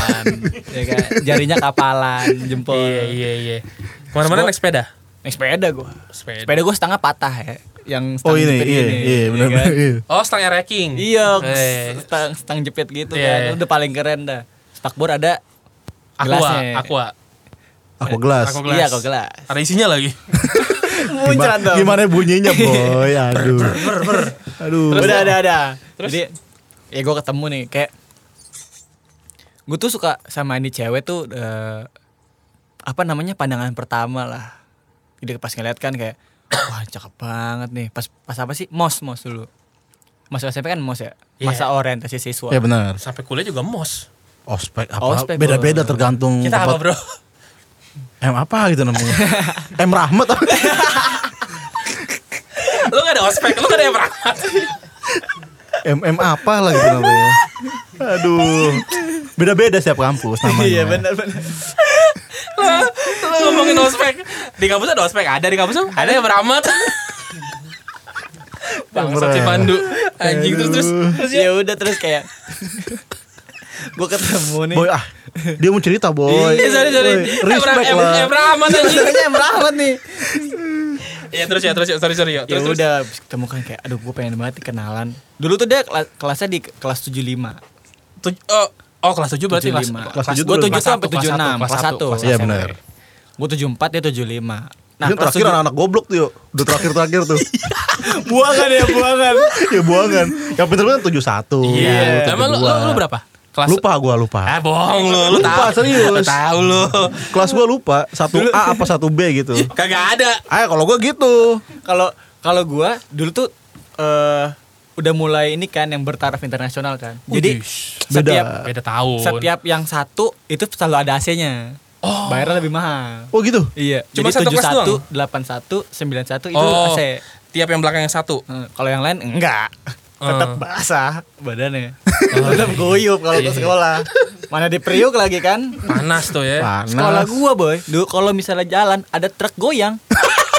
Speaker 3: ya kan? Jarinya kapalan, jempol.
Speaker 2: Iya iya iya. Kemana-mana
Speaker 3: Terus gua-
Speaker 2: naik sepeda.
Speaker 3: Naik sepeda gua.
Speaker 2: Sepeda.
Speaker 3: Sepeda gua setengah patah ya. Yang
Speaker 4: Oh
Speaker 3: stang
Speaker 4: ini,
Speaker 3: jepit
Speaker 4: iya, iya,
Speaker 3: ya
Speaker 4: benar.
Speaker 3: kan?
Speaker 4: iya.
Speaker 2: Oh, stang ereking.
Speaker 3: Iya,
Speaker 2: Eh,
Speaker 3: stang, stang jepit gitu
Speaker 2: Iya.
Speaker 3: kan. Udah paling keren dah. Stakbor ada
Speaker 2: aqua,
Speaker 3: gelasnya.
Speaker 2: aqua.
Speaker 4: Aku gelas.
Speaker 2: Aku gelas.
Speaker 3: Iya, kok gelas.
Speaker 2: Ada isinya lagi.
Speaker 3: Muncrat
Speaker 4: Gimana,
Speaker 3: dong.
Speaker 4: gimana bunyinya, boy? Aduh. Aduh.
Speaker 3: udah ada ada.
Speaker 2: Terus?
Speaker 3: Jadi ya gue ketemu nih kayak gue tuh suka sama ini cewek tuh eh, apa namanya pandangan pertama lah. Jadi pas ngeliat kan kayak wah cakep banget nih. Pas pas apa sih? Mos mos dulu. Masa SMP kan mos ya.
Speaker 2: Iya.
Speaker 3: Masa orientasi siswa.
Speaker 4: Ya benar.
Speaker 2: Sampai kuliah juga mos.
Speaker 4: Ospek apa?
Speaker 3: Ospek,
Speaker 4: Beda-beda
Speaker 3: Bro.
Speaker 4: tergantung
Speaker 2: Kita apa,
Speaker 4: tempat-
Speaker 2: Bro?
Speaker 4: M apa gitu namanya? M Rahmat apa?
Speaker 2: lu gak ada ospek, lu gak ada yang berangkat.
Speaker 4: M M apa lah gitu namanya? Aduh. Beda-beda setiap kampus namanya.
Speaker 3: Iya benar benar.
Speaker 2: Lu ngomongin ospek. Di kampus ada ospek, ada di kampus ada yang beramat. Bangsat si Pandu. Anjing terus terus. terus ya.
Speaker 3: Ya udah terus kayak gue ketemu nih.
Speaker 4: Boy ah, dia mau cerita boy.
Speaker 2: Iya, sorry, sorry.
Speaker 4: Boy, Respect
Speaker 2: Em- em-
Speaker 4: lah.
Speaker 2: em beramat anjing.
Speaker 3: Sebenarnya yang merawat nih.
Speaker 2: Ya terus ya, terus ya. Sorry, sorry. Ya,
Speaker 3: ya
Speaker 2: terus, terus.
Speaker 3: udah abis ketemu kan kayak aduh gue pengen banget kenalan dulu tuh dia kela- kelasnya di ke- kelas 75
Speaker 2: Tuj- oh, oh, kelas 7 berarti kelas
Speaker 3: 75.
Speaker 4: kelas tujuh
Speaker 3: gue
Speaker 4: dulu.
Speaker 3: 7
Speaker 2: Kelas
Speaker 3: sampai
Speaker 2: satu, kelas
Speaker 3: 76
Speaker 2: satu,
Speaker 3: kelas
Speaker 2: kelas
Speaker 3: 1
Speaker 2: satu.
Speaker 4: Iya benar.
Speaker 3: gue 74 dia 75 nah
Speaker 4: Ini
Speaker 3: kelas
Speaker 4: terakhir anak-anak goblok tuh yuk. Udah terakhir-terakhir tuh.
Speaker 3: buangan ya buangan
Speaker 4: ya buangan. Yang pinter kan 71.
Speaker 2: Iya. Emang lu, lu,
Speaker 4: 72.
Speaker 2: lu berapa? Kelas
Speaker 4: Lupa gua lupa.
Speaker 2: Ah, bohong lu, lu
Speaker 4: Lupa,
Speaker 2: tahu.
Speaker 4: serius.
Speaker 2: Lu tahu lu.
Speaker 4: Kelas gua lupa, 1A apa 1B gitu.
Speaker 2: Kagak ada.
Speaker 4: Ah, kalau gua gitu.
Speaker 3: kalau kalau gue dulu tuh eh udah mulai ini kan yang bertaraf internasional kan jadi
Speaker 2: Udish.
Speaker 3: setiap
Speaker 4: Oh, beda.
Speaker 2: beda tahun.
Speaker 3: setiap yang satu itu selalu ada AC-nya
Speaker 2: Oh.
Speaker 3: bayarnya lebih mahal
Speaker 4: Oh gitu.
Speaker 3: Iya,
Speaker 2: Cuma
Speaker 3: jadi
Speaker 2: satu kelas
Speaker 3: 71, 81, 91 itu
Speaker 2: oh,
Speaker 3: AC.
Speaker 2: tiap yang belakang yang satu.
Speaker 3: Eh, Kalau yang lain enggak.
Speaker 2: Eh.
Speaker 3: Tetap basah badannya. Oh, iya. Tetap guyup kalau ke sekolah. Mana di Priuk lagi kan?
Speaker 2: Panas tuh ya.
Speaker 4: Panas.
Speaker 3: Sekolah gua, Boy. Duh, kalau misalnya jalan ada truk goyang.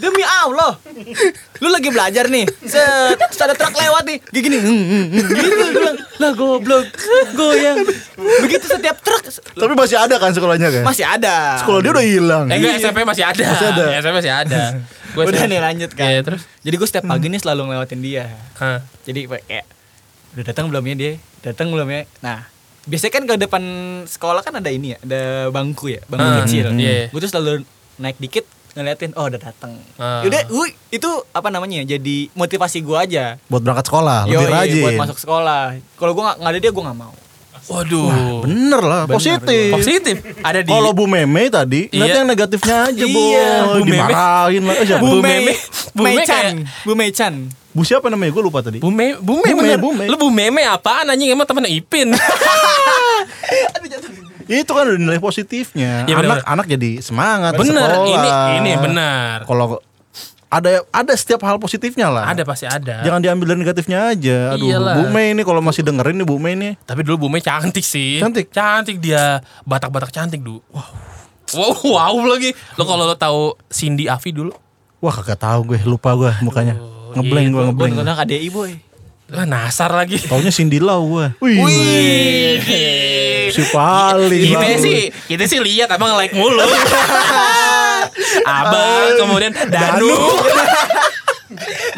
Speaker 3: Demi Allah. Lu lagi belajar nih. Set, terus ada truk lewat nih. Kayak gini. hmm, hmm, hmm, Gitu Gua bilang, Lah goblok. Goyang. Begitu setiap truk
Speaker 4: Tapi masih ada kan sekolahnya kan?
Speaker 3: masih ada.
Speaker 4: Sekolah dia udah hilang.
Speaker 2: Eh enggak SMP masih ada. Iya,
Speaker 4: Masih ada.
Speaker 2: SMP masih ada. Gua
Speaker 3: Udah
Speaker 2: SMP.
Speaker 3: nih lanjut kan.
Speaker 2: Iya, terus.
Speaker 3: Jadi gue setiap pagi nih selalu ngelewatin dia.
Speaker 2: Hah.
Speaker 3: Jadi kayak udah datang belum ya dia? Datang belum ya? Nah, biasanya kan ke depan sekolah kan ada ini ya, ada bangku ya, bangku
Speaker 2: Ah,
Speaker 3: kecil.
Speaker 2: iya.
Speaker 3: Gue tuh selalu naik dikit ngeliatin, oh udah datang.
Speaker 2: Ah.
Speaker 3: Udah, gue itu apa namanya? ya, Jadi motivasi gue aja.
Speaker 4: Buat berangkat sekolah, Ah, lebih
Speaker 3: Yoi,
Speaker 4: rajin.
Speaker 3: buat masuk sekolah. Kalau gue nggak nggak ada dia gue nggak mau.
Speaker 2: Waduh.
Speaker 4: Bener lah, positif.
Speaker 2: Positif. Ada di
Speaker 4: Kalau Bu Meme tadi,
Speaker 2: Iya.
Speaker 4: nanti yang negatifnya aja, Bu.
Speaker 3: Iya, Bu Meme.
Speaker 4: Dimarahin lah. Eh, siapa?
Speaker 2: Bu
Speaker 3: Bu
Speaker 2: Mei-
Speaker 3: Mei,
Speaker 2: Bu
Speaker 3: Bu
Speaker 2: Mei
Speaker 3: Mei Chan,
Speaker 2: kayak-
Speaker 3: Bu Mei Chan.
Speaker 4: Bu siapa namanya? Gue lupa tadi.
Speaker 2: Bume, Bume,
Speaker 4: Bume,
Speaker 2: bener.
Speaker 4: Bume.
Speaker 2: Lu Bumeme apaan anjing emang temen Ipin.
Speaker 4: Itu kan udah nilai positifnya.
Speaker 2: Iya, bener,
Speaker 4: Anak-anak jadi semangat
Speaker 2: bener,
Speaker 4: sekolah.
Speaker 2: ini ini benar.
Speaker 4: Kalau ada ada setiap hal positifnya lah.
Speaker 2: Ada pasti ada.
Speaker 4: Jangan diambil dari negatifnya aja. Aduh,
Speaker 2: Iyalah.
Speaker 4: Bu Mei ini kalau masih dengerin nih Bu Mei ini.
Speaker 2: Tapi dulu Bume cantik sih.
Speaker 4: Cantik?
Speaker 2: Cantik dia. Batak-batak cantik dulu. Wow. Wow, wow lagi. Lo kalau lo tahu Cindy Avi dulu.
Speaker 4: Wah, kagak tahu gue, lupa gue mukanya. Ngeblank
Speaker 2: iya,
Speaker 4: gue,
Speaker 2: gua-
Speaker 3: Gue
Speaker 4: ngeblank.
Speaker 3: nonton KDI boy.
Speaker 2: Ah, nasar lagi.
Speaker 4: Taunya Cindy Lau gue. Wih. Oh, Si paling.
Speaker 2: Kita
Speaker 4: Bang.
Speaker 2: sih, kita sih lihat abang like mulu. abang kemudian Danu.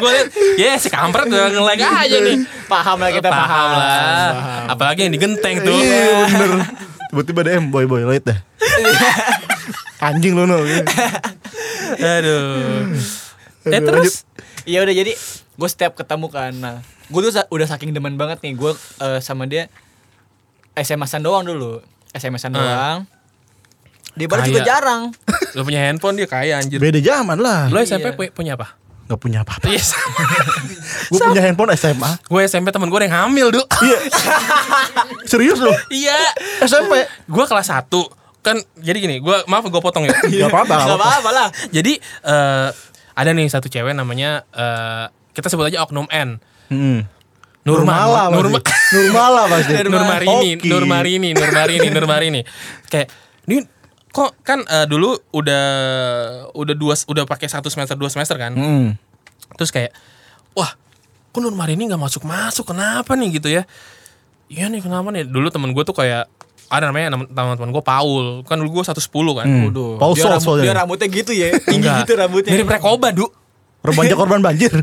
Speaker 2: Gue liat, ya si kampret udah nge-like aja nih.
Speaker 3: Paham lah kita paham.
Speaker 2: paham lah. Apalagi yang digenteng tuh.
Speaker 4: Iya bener.
Speaker 2: Iya.
Speaker 4: Tiba-tiba DM boy boy light dah. Anjing lu no.
Speaker 2: Aduh. Eh
Speaker 4: Aduh,
Speaker 2: terus
Speaker 3: Iya Nah, udah jadi gue setiap ketemu kan. Nah, gue tuh sa- udah saking demen banget nih gue eh, sama dia SMS-an doang dulu. SMS-an doang. Dia baru juga
Speaker 2: Kayak-
Speaker 3: jarang.
Speaker 2: lu punya handphone dia kaya anjir.
Speaker 4: Beda zaman lah.
Speaker 2: Lu Iya. SMP pu- punya apa?
Speaker 4: Gak punya apa-apa.
Speaker 2: Yes.
Speaker 4: Gue punya handphone SMA.
Speaker 2: gue SMP temen gue ada yang hamil, Duk.
Speaker 4: Iya. Serius lu?
Speaker 2: Iya.
Speaker 4: SMP.
Speaker 2: Gue kelas 1. Kan jadi gini, gua maaf gue potong ya.
Speaker 4: Gak apa-apa.
Speaker 3: Gak
Speaker 4: gak apa-apa.
Speaker 3: apa-apa lah.
Speaker 2: jadi eh ada nih satu cewek namanya eh kita sebut aja Oknum N.
Speaker 4: Hmm.
Speaker 2: Nurma,
Speaker 4: Nurmala
Speaker 2: Nurma,
Speaker 4: pasti. Nurmala pasti.
Speaker 2: Nurmarini,
Speaker 4: Oki.
Speaker 2: Nurmarini, Nurmarini, Nurmarini. Kayak ini kok kan eh, dulu udah udah dua udah pakai satu semester dua semester kan.
Speaker 4: Hmm.
Speaker 2: Terus kayak wah, kok Nurmarini nggak masuk-masuk kenapa nih gitu ya. Iya nih kenapa nih dulu temen gue tuh kayak ada namanya teman-teman gue Paul kan dulu gue 110 kan
Speaker 3: Waduh,
Speaker 4: Paul
Speaker 3: dia,
Speaker 4: Sol
Speaker 3: rambut-
Speaker 4: soalnya.
Speaker 3: dia rambutnya gitu ya, tinggi
Speaker 2: Enggak.
Speaker 3: Hmm. gitu rambutnya.
Speaker 2: mirip rekoba du
Speaker 4: Remaja korban banjir.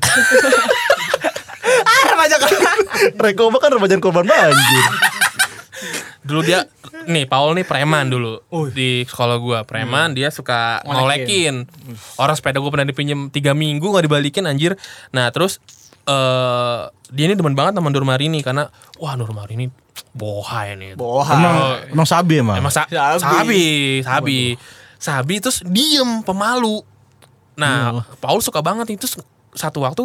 Speaker 3: Ah, remaja kan.
Speaker 4: Rekoba kan remaja korban banjir.
Speaker 2: dulu dia nih Paul nih preman dulu di sekolah gua preman dia suka
Speaker 3: Hmm. Ngolekin.
Speaker 2: ngolekin orang sepeda gua pernah dipinjem tiga minggu nggak dibalikin anjir nah terus eh dia ini demen banget sama Nurmarini karena wah Nurmarini bohai nih
Speaker 3: Bohai.
Speaker 4: Emang emang sabi emang.
Speaker 2: Ah, emang sa-
Speaker 3: Sabi.
Speaker 2: sabi sabi sabi, terus diem pemalu nah Paul suka banget itu satu waktu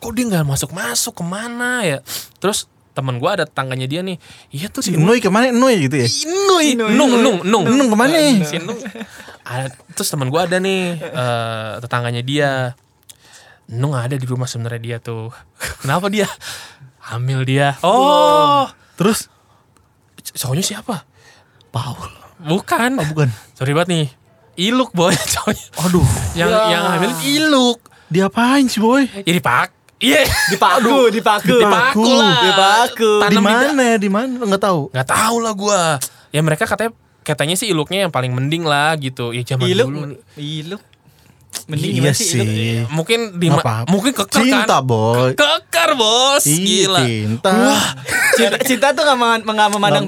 Speaker 2: kok dia nggak masuk masuk kemana ya terus teman gua ada tangganya dia nih iya tuh
Speaker 4: si
Speaker 2: di-
Speaker 4: Noy kemana Noy gitu ya?
Speaker 2: Inui, Nung, Nung, Nung, Eh,
Speaker 4: Nung kemana?
Speaker 2: Si Nung. Ada- Terus teman gue ada nih eh, tetangganya dia. Nung ada di rumah sebenarnya dia tuh. Kenapa dia? Hamil dia. Oh,
Speaker 4: Terus
Speaker 2: cowoknya siapa?
Speaker 4: Paul.
Speaker 2: Bukan.
Speaker 4: Oh, bukan.
Speaker 2: Sorry banget nih. Iluk boy cowoknya.
Speaker 4: Aduh,
Speaker 2: Yang yang hamil Iluk.
Speaker 4: diapain sih boy?
Speaker 2: Jadi pak. Iya.
Speaker 3: Dipaku, dipaku.
Speaker 2: Dipaku lah.
Speaker 3: Dipaku.
Speaker 2: Tanam di
Speaker 4: Di
Speaker 2: da-
Speaker 4: mana? Di mana? Enggak tahu.
Speaker 2: nggak tahu lah gue. Ya mereka katanya katanya sih iluknya yang paling mending lah gitu. Ya zaman
Speaker 3: Iluk,
Speaker 2: dulu.
Speaker 3: iluk.
Speaker 4: Iya
Speaker 3: Mending gimana sih, iluk?
Speaker 4: sih.
Speaker 2: mungkin di
Speaker 4: Nggak apa-apa.
Speaker 2: mungkin kekar
Speaker 4: Cinta,
Speaker 2: kan?
Speaker 4: Boy.
Speaker 2: kekar bos
Speaker 4: Iya,
Speaker 2: gila
Speaker 4: cinta.
Speaker 2: wah
Speaker 3: Cinta, cinta tuh gak, menga- menga- memandang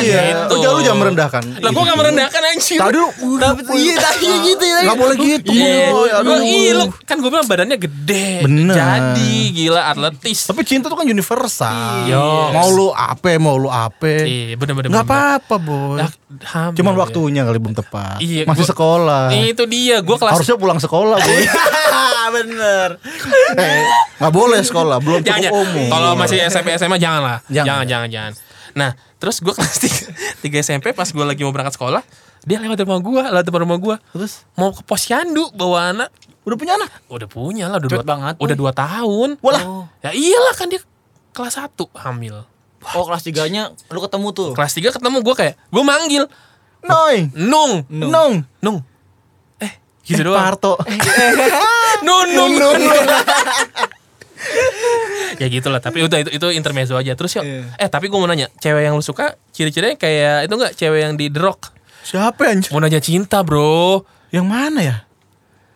Speaker 4: iya.
Speaker 3: ya.
Speaker 2: gitu.
Speaker 4: Oh, jangan lu jangan merendahkan.
Speaker 2: lah gua gak merendahkan anjir
Speaker 4: Tadi lu
Speaker 3: Tapi iya tadi gitu ya.
Speaker 4: Gak boleh gitu.
Speaker 2: Iya,
Speaker 4: Boy. Aduh.
Speaker 2: Gua iluk. kan gue bilang badannya gede,
Speaker 4: Bener.
Speaker 2: jadi gila atletis.
Speaker 4: Tapi cinta tuh kan universal.
Speaker 2: Iya.
Speaker 4: Mau lu ape, mau lu ape.
Speaker 2: Iya, bener-bener.
Speaker 4: Gak apa-apa, Boy. Cuman waktunya kali belum tepat.
Speaker 2: Iya, gua-
Speaker 4: Masih
Speaker 2: Iya,
Speaker 4: sekolah.
Speaker 2: Itu dia, gue kelas.
Speaker 4: Harusnya pulang sekolah, Boy.
Speaker 3: Bener.
Speaker 4: eh, gak boleh sekolah, belum
Speaker 2: jangan,
Speaker 4: cukup
Speaker 2: jangan.
Speaker 4: umur.
Speaker 2: Ya, Kalau masih SMP SMA jangan lah.
Speaker 4: Jangan.
Speaker 2: Jangan, jangan, jangan. Nah, terus gue kelas 3, SMP pas gue lagi mau berangkat sekolah, dia lewat rumah gue, lewat depan rumah gue.
Speaker 4: Terus
Speaker 2: Mau ke posyandu bawa anak.
Speaker 4: udah punya anak?
Speaker 2: Udah punya lah, udah
Speaker 3: Cepet
Speaker 2: dua,
Speaker 3: banget,
Speaker 2: udah dua tahun.
Speaker 4: Walah.
Speaker 2: Oh. Ya iyalah kan dia kelas 1 hamil.
Speaker 3: Oh kelas tiganya lu ketemu tuh.
Speaker 2: Kelas 3 ketemu gue kayak, gue manggil,
Speaker 4: Noy.
Speaker 2: Nung,
Speaker 3: Nung.
Speaker 4: Nong.
Speaker 2: Nung. Eh, gitu
Speaker 4: Eh,
Speaker 2: doang.
Speaker 4: Parto.
Speaker 2: Nung, Nung, Nung. ya gitu lah, tapi udah itu, itu intermezzo aja. Terus yuk,
Speaker 3: Iya.
Speaker 2: eh tapi gue mau nanya, cewek yang lu suka, ciri-cirinya kayak, itu nggak cewek yang di The Rock?
Speaker 4: Siapa ya, anjir?
Speaker 2: Mau nanya cinta bro.
Speaker 4: Yang mana ya?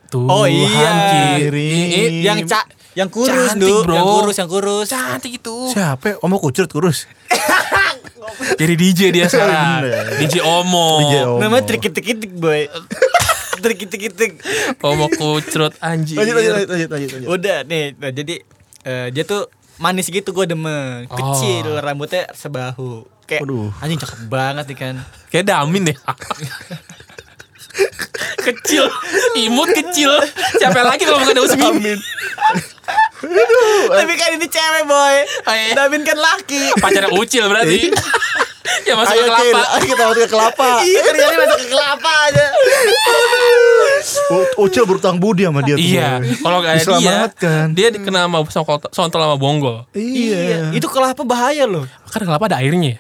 Speaker 2: Tuh,
Speaker 3: Oh, iya.
Speaker 2: Ki. Ih, ih, ya,
Speaker 3: Yang cak, yang kurus
Speaker 2: Cantik,
Speaker 3: dulu,
Speaker 2: bro.
Speaker 3: yang kurus, yang kurus.
Speaker 2: Cantik itu.
Speaker 4: Siapa? ya? Omo kucurut kurus.
Speaker 2: gitu. Jadi DJ dia sekarang.
Speaker 4: Bener.
Speaker 2: DJ Omo.
Speaker 4: DJ Iya. Omo.
Speaker 2: Oh.
Speaker 3: Namanya trikit-trikit boy. trikit-trikit.
Speaker 2: Omo kucrut anjir.
Speaker 4: Lanjut, lanjut, lanjut, lanjut, lanjut.
Speaker 3: Udah nih, nah, jadi eh, dia tuh manis gitu gue demen,
Speaker 2: Oh.
Speaker 3: kecil rambutnya sebahu. Kayak
Speaker 4: Waduh.
Speaker 3: anjing cakep banget nih kan.
Speaker 2: Kayak Damin deh. kecil, imut kecil. Siapa lagi kalau bukan Daus Mimin?
Speaker 3: Tapi kan ini cewek boy.
Speaker 2: Oh, iya.
Speaker 3: Damin kan laki.
Speaker 2: Pacarnya Ucil berarti. ya masuk ke
Speaker 4: Iya. Ayo, Cil,
Speaker 2: kelapa.
Speaker 4: ayo kita masuk ke kelapa. Eh,
Speaker 3: Iya kerjanya masuk ke kelapa aja.
Speaker 4: U- Ucil berutang budi sama dia tuh.
Speaker 2: Iya,
Speaker 4: Boy.
Speaker 2: kalau gak ada dia,
Speaker 4: Diselamatkan.
Speaker 2: dia dikenal sama songkol- sontol sama bonggol.
Speaker 4: Iya.
Speaker 3: Itu kelapa bahaya loh.
Speaker 2: Kan kelapa ada airnya.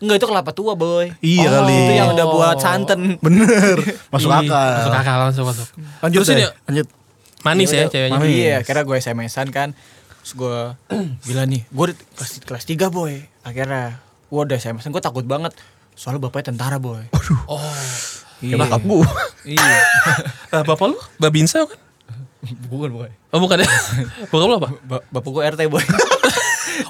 Speaker 3: Enggak itu kelapa tua boy.
Speaker 4: Iya kali.
Speaker 3: Itu yang udah buat santan.
Speaker 4: Bener. Masuk
Speaker 2: Ih,
Speaker 4: akal.
Speaker 2: Iya. Masuk akal langsung masuk.
Speaker 4: Lanjut
Speaker 2: Terusin
Speaker 4: deh.
Speaker 2: yuk.
Speaker 4: Lanjut.
Speaker 2: Manis ya ceweknya.
Speaker 4: Manis.
Speaker 3: Iya, karena gue SMS-an kan. Terus gue gila nih, gue kelas, kelas 3 boy. Akhirnya gue udah SMS-an, gue takut banget. Soalnya bapaknya tentara boy.
Speaker 2: Oh.
Speaker 3: Iya.
Speaker 4: Nyokap gua.
Speaker 3: Iya.
Speaker 2: Nah, bapak lu Babinsa kan?
Speaker 3: Bukan boy.
Speaker 2: Oh bukan ya. Bapak lu apa?
Speaker 3: Ba- bapak gue RT boy.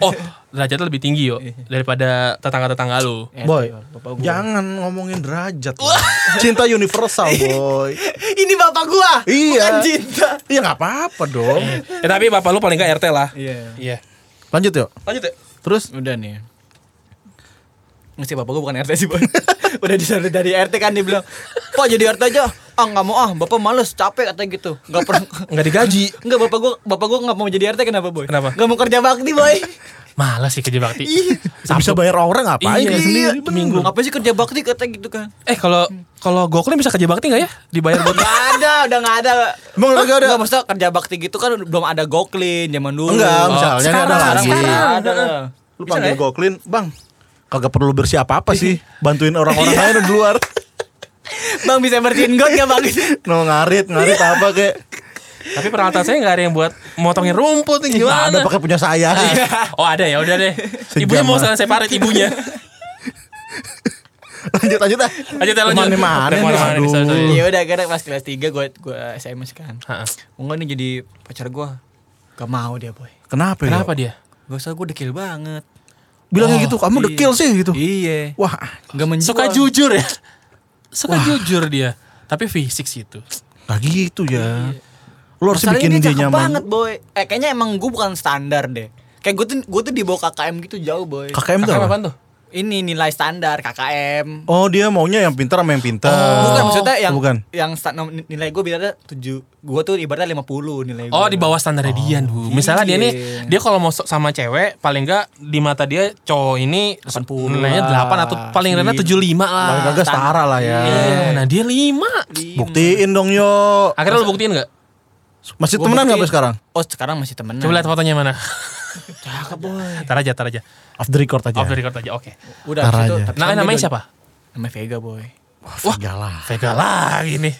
Speaker 2: Oh, derajatnya lebih tinggi yo daripada tetangga-tetangga lu.
Speaker 3: Eh,
Speaker 4: Boy,
Speaker 3: bapak gua.
Speaker 4: jangan ngomongin derajat. Boy. Cinta universal, boy.
Speaker 3: Ini bapak gua.
Speaker 4: Iya.
Speaker 3: Bukan cinta.
Speaker 4: Iya nggak apa-apa dong.
Speaker 2: Ya, tapi bapak lu paling enggak RT lah.
Speaker 3: Iya.
Speaker 2: Iya.
Speaker 4: Lanjut yuk.
Speaker 2: Lanjut ya.
Speaker 4: Terus
Speaker 3: Udah nih. Mesti bapak gua bukan RT sih, Boy. Udah disana dari RT kan dia bilang, "Pak jadi RT aja." Ah, nggak mau ah, bapak males, capek katanya gitu. Nggak pernah
Speaker 2: Enggak digaji.
Speaker 3: Enggak, bapak gua bapak gua nggak mau jadi RT kenapa, Boy?
Speaker 2: Kenapa?
Speaker 3: Nggak mau kerja bakti, Boy.
Speaker 2: Malas sih kerja bakti.
Speaker 4: bisa bayar orang ngapain?
Speaker 2: Iya,
Speaker 4: dia sendiri?
Speaker 2: iya, minggu.
Speaker 3: Apa sih kerja bakti katanya gitu kan?
Speaker 2: Eh kalau kalau gokul bisa kerja bakti enggak ya? Dibayar buat
Speaker 3: Gak ada, udah gak ada.
Speaker 4: Emang udah nggak ada?
Speaker 3: Enggak, maksudnya kerja bakti gitu kan belum ada Goklin zaman dulu.
Speaker 4: Enggak,
Speaker 3: Oh,
Speaker 4: misalnya ini ada
Speaker 2: sekarang,
Speaker 4: lagi.
Speaker 2: sekarang.
Speaker 3: ada.
Speaker 4: Lu
Speaker 2: Bisa nggak
Speaker 4: panggil
Speaker 2: ya?
Speaker 4: Goklin, Bang. Kagak perlu bersih apa-apa sih, Iya. bantuin orang-orang lain di luar.
Speaker 3: Bang bisa bersihin got gak Bang?
Speaker 4: No ngarit, ngarit apa kayak.
Speaker 2: Tapi peralatan saya enggak ada yang buat motongin rumput nih
Speaker 4: Nah,
Speaker 2: gimana?
Speaker 4: ada pakai punya saya.
Speaker 2: Oh ada ya, udah deh.
Speaker 4: Sejam,
Speaker 2: Ibunya mau
Speaker 4: ah.
Speaker 2: saran separet ibunya.
Speaker 4: lanjut lanjut ah.
Speaker 2: Lanjut ya, lanjut.
Speaker 4: Kemana-mana.
Speaker 2: Udah, kemana-mana nih, sorry, sorry.
Speaker 4: Aduh.
Speaker 3: Ya udah, karena pas kelas 3 gua gua SMS kan.
Speaker 2: Ha-ha.
Speaker 3: Enggak nih jadi pacar gua. Gak mau dia, Boy.
Speaker 4: Kenapa ya?
Speaker 2: Kenapa dia?
Speaker 3: Gak usah gua dekil banget.
Speaker 4: Bilangnya
Speaker 2: Oh,
Speaker 4: gitu, kamu
Speaker 3: iya.
Speaker 4: dekil sih gitu.
Speaker 3: Iya.
Speaker 4: Wah,
Speaker 3: Gak menjual.
Speaker 2: Suka jujur ya? Suka jujur dia. Tapi fisik sih itu.
Speaker 4: gak gitu ya. Lu harus
Speaker 3: Masalahnya
Speaker 4: bikin
Speaker 3: dia
Speaker 4: dia
Speaker 3: cakep banget,
Speaker 4: nyaman.
Speaker 3: Boy. Eh, kayaknya emang gua bukan standar deh. Kayak gua tuh gua tuh di bawah KKM gitu jauh, Boy.
Speaker 4: KKM tuh.
Speaker 2: Kakak
Speaker 4: apa?
Speaker 2: apaan tuh?
Speaker 3: Ini nilai standar KKM.
Speaker 4: Oh, dia maunya yang pintar sama yang pintar.
Speaker 3: Oh, Bukan maksudnya yang
Speaker 4: Oh. bukan.
Speaker 3: yang sta- nom- nilai gue biasanya 7. Gue tuh ibaratnya 50 nilai gue.
Speaker 2: Oh di bawah standarnya dia Bu. Misalnya dia nih
Speaker 3: Iya.
Speaker 2: dia kalau mau so- sama cewek paling enggak di mata dia cowok ini
Speaker 3: 80
Speaker 2: nilainya
Speaker 3: lah.
Speaker 2: 8 atau paling Gitu. rendah 75 lah.
Speaker 4: Paling kagak setara lah ya.
Speaker 2: Ah, Iya, nah dia 5.
Speaker 4: Buktiin dong yo.
Speaker 2: Akhirnya lu buktiin enggak?
Speaker 4: Masih temenan nggak sampai sekarang?
Speaker 3: Oh, sekarang masih temenan.
Speaker 2: Coba lihat fotonya mana.
Speaker 3: Cakep, boy.
Speaker 2: Tar aja, tar aja.
Speaker 4: Off the record aja.
Speaker 2: Off the record aja. Oke.
Speaker 3: Udah
Speaker 4: Ntar
Speaker 3: abis itu.
Speaker 4: aja.
Speaker 3: tapi
Speaker 2: Nah,
Speaker 3: sekarang
Speaker 2: namanya
Speaker 3: dia
Speaker 2: siapa?
Speaker 3: udah- Namanya Vega, boy.
Speaker 4: Wah, Vega lah.
Speaker 2: Oh, Vega lagi nih.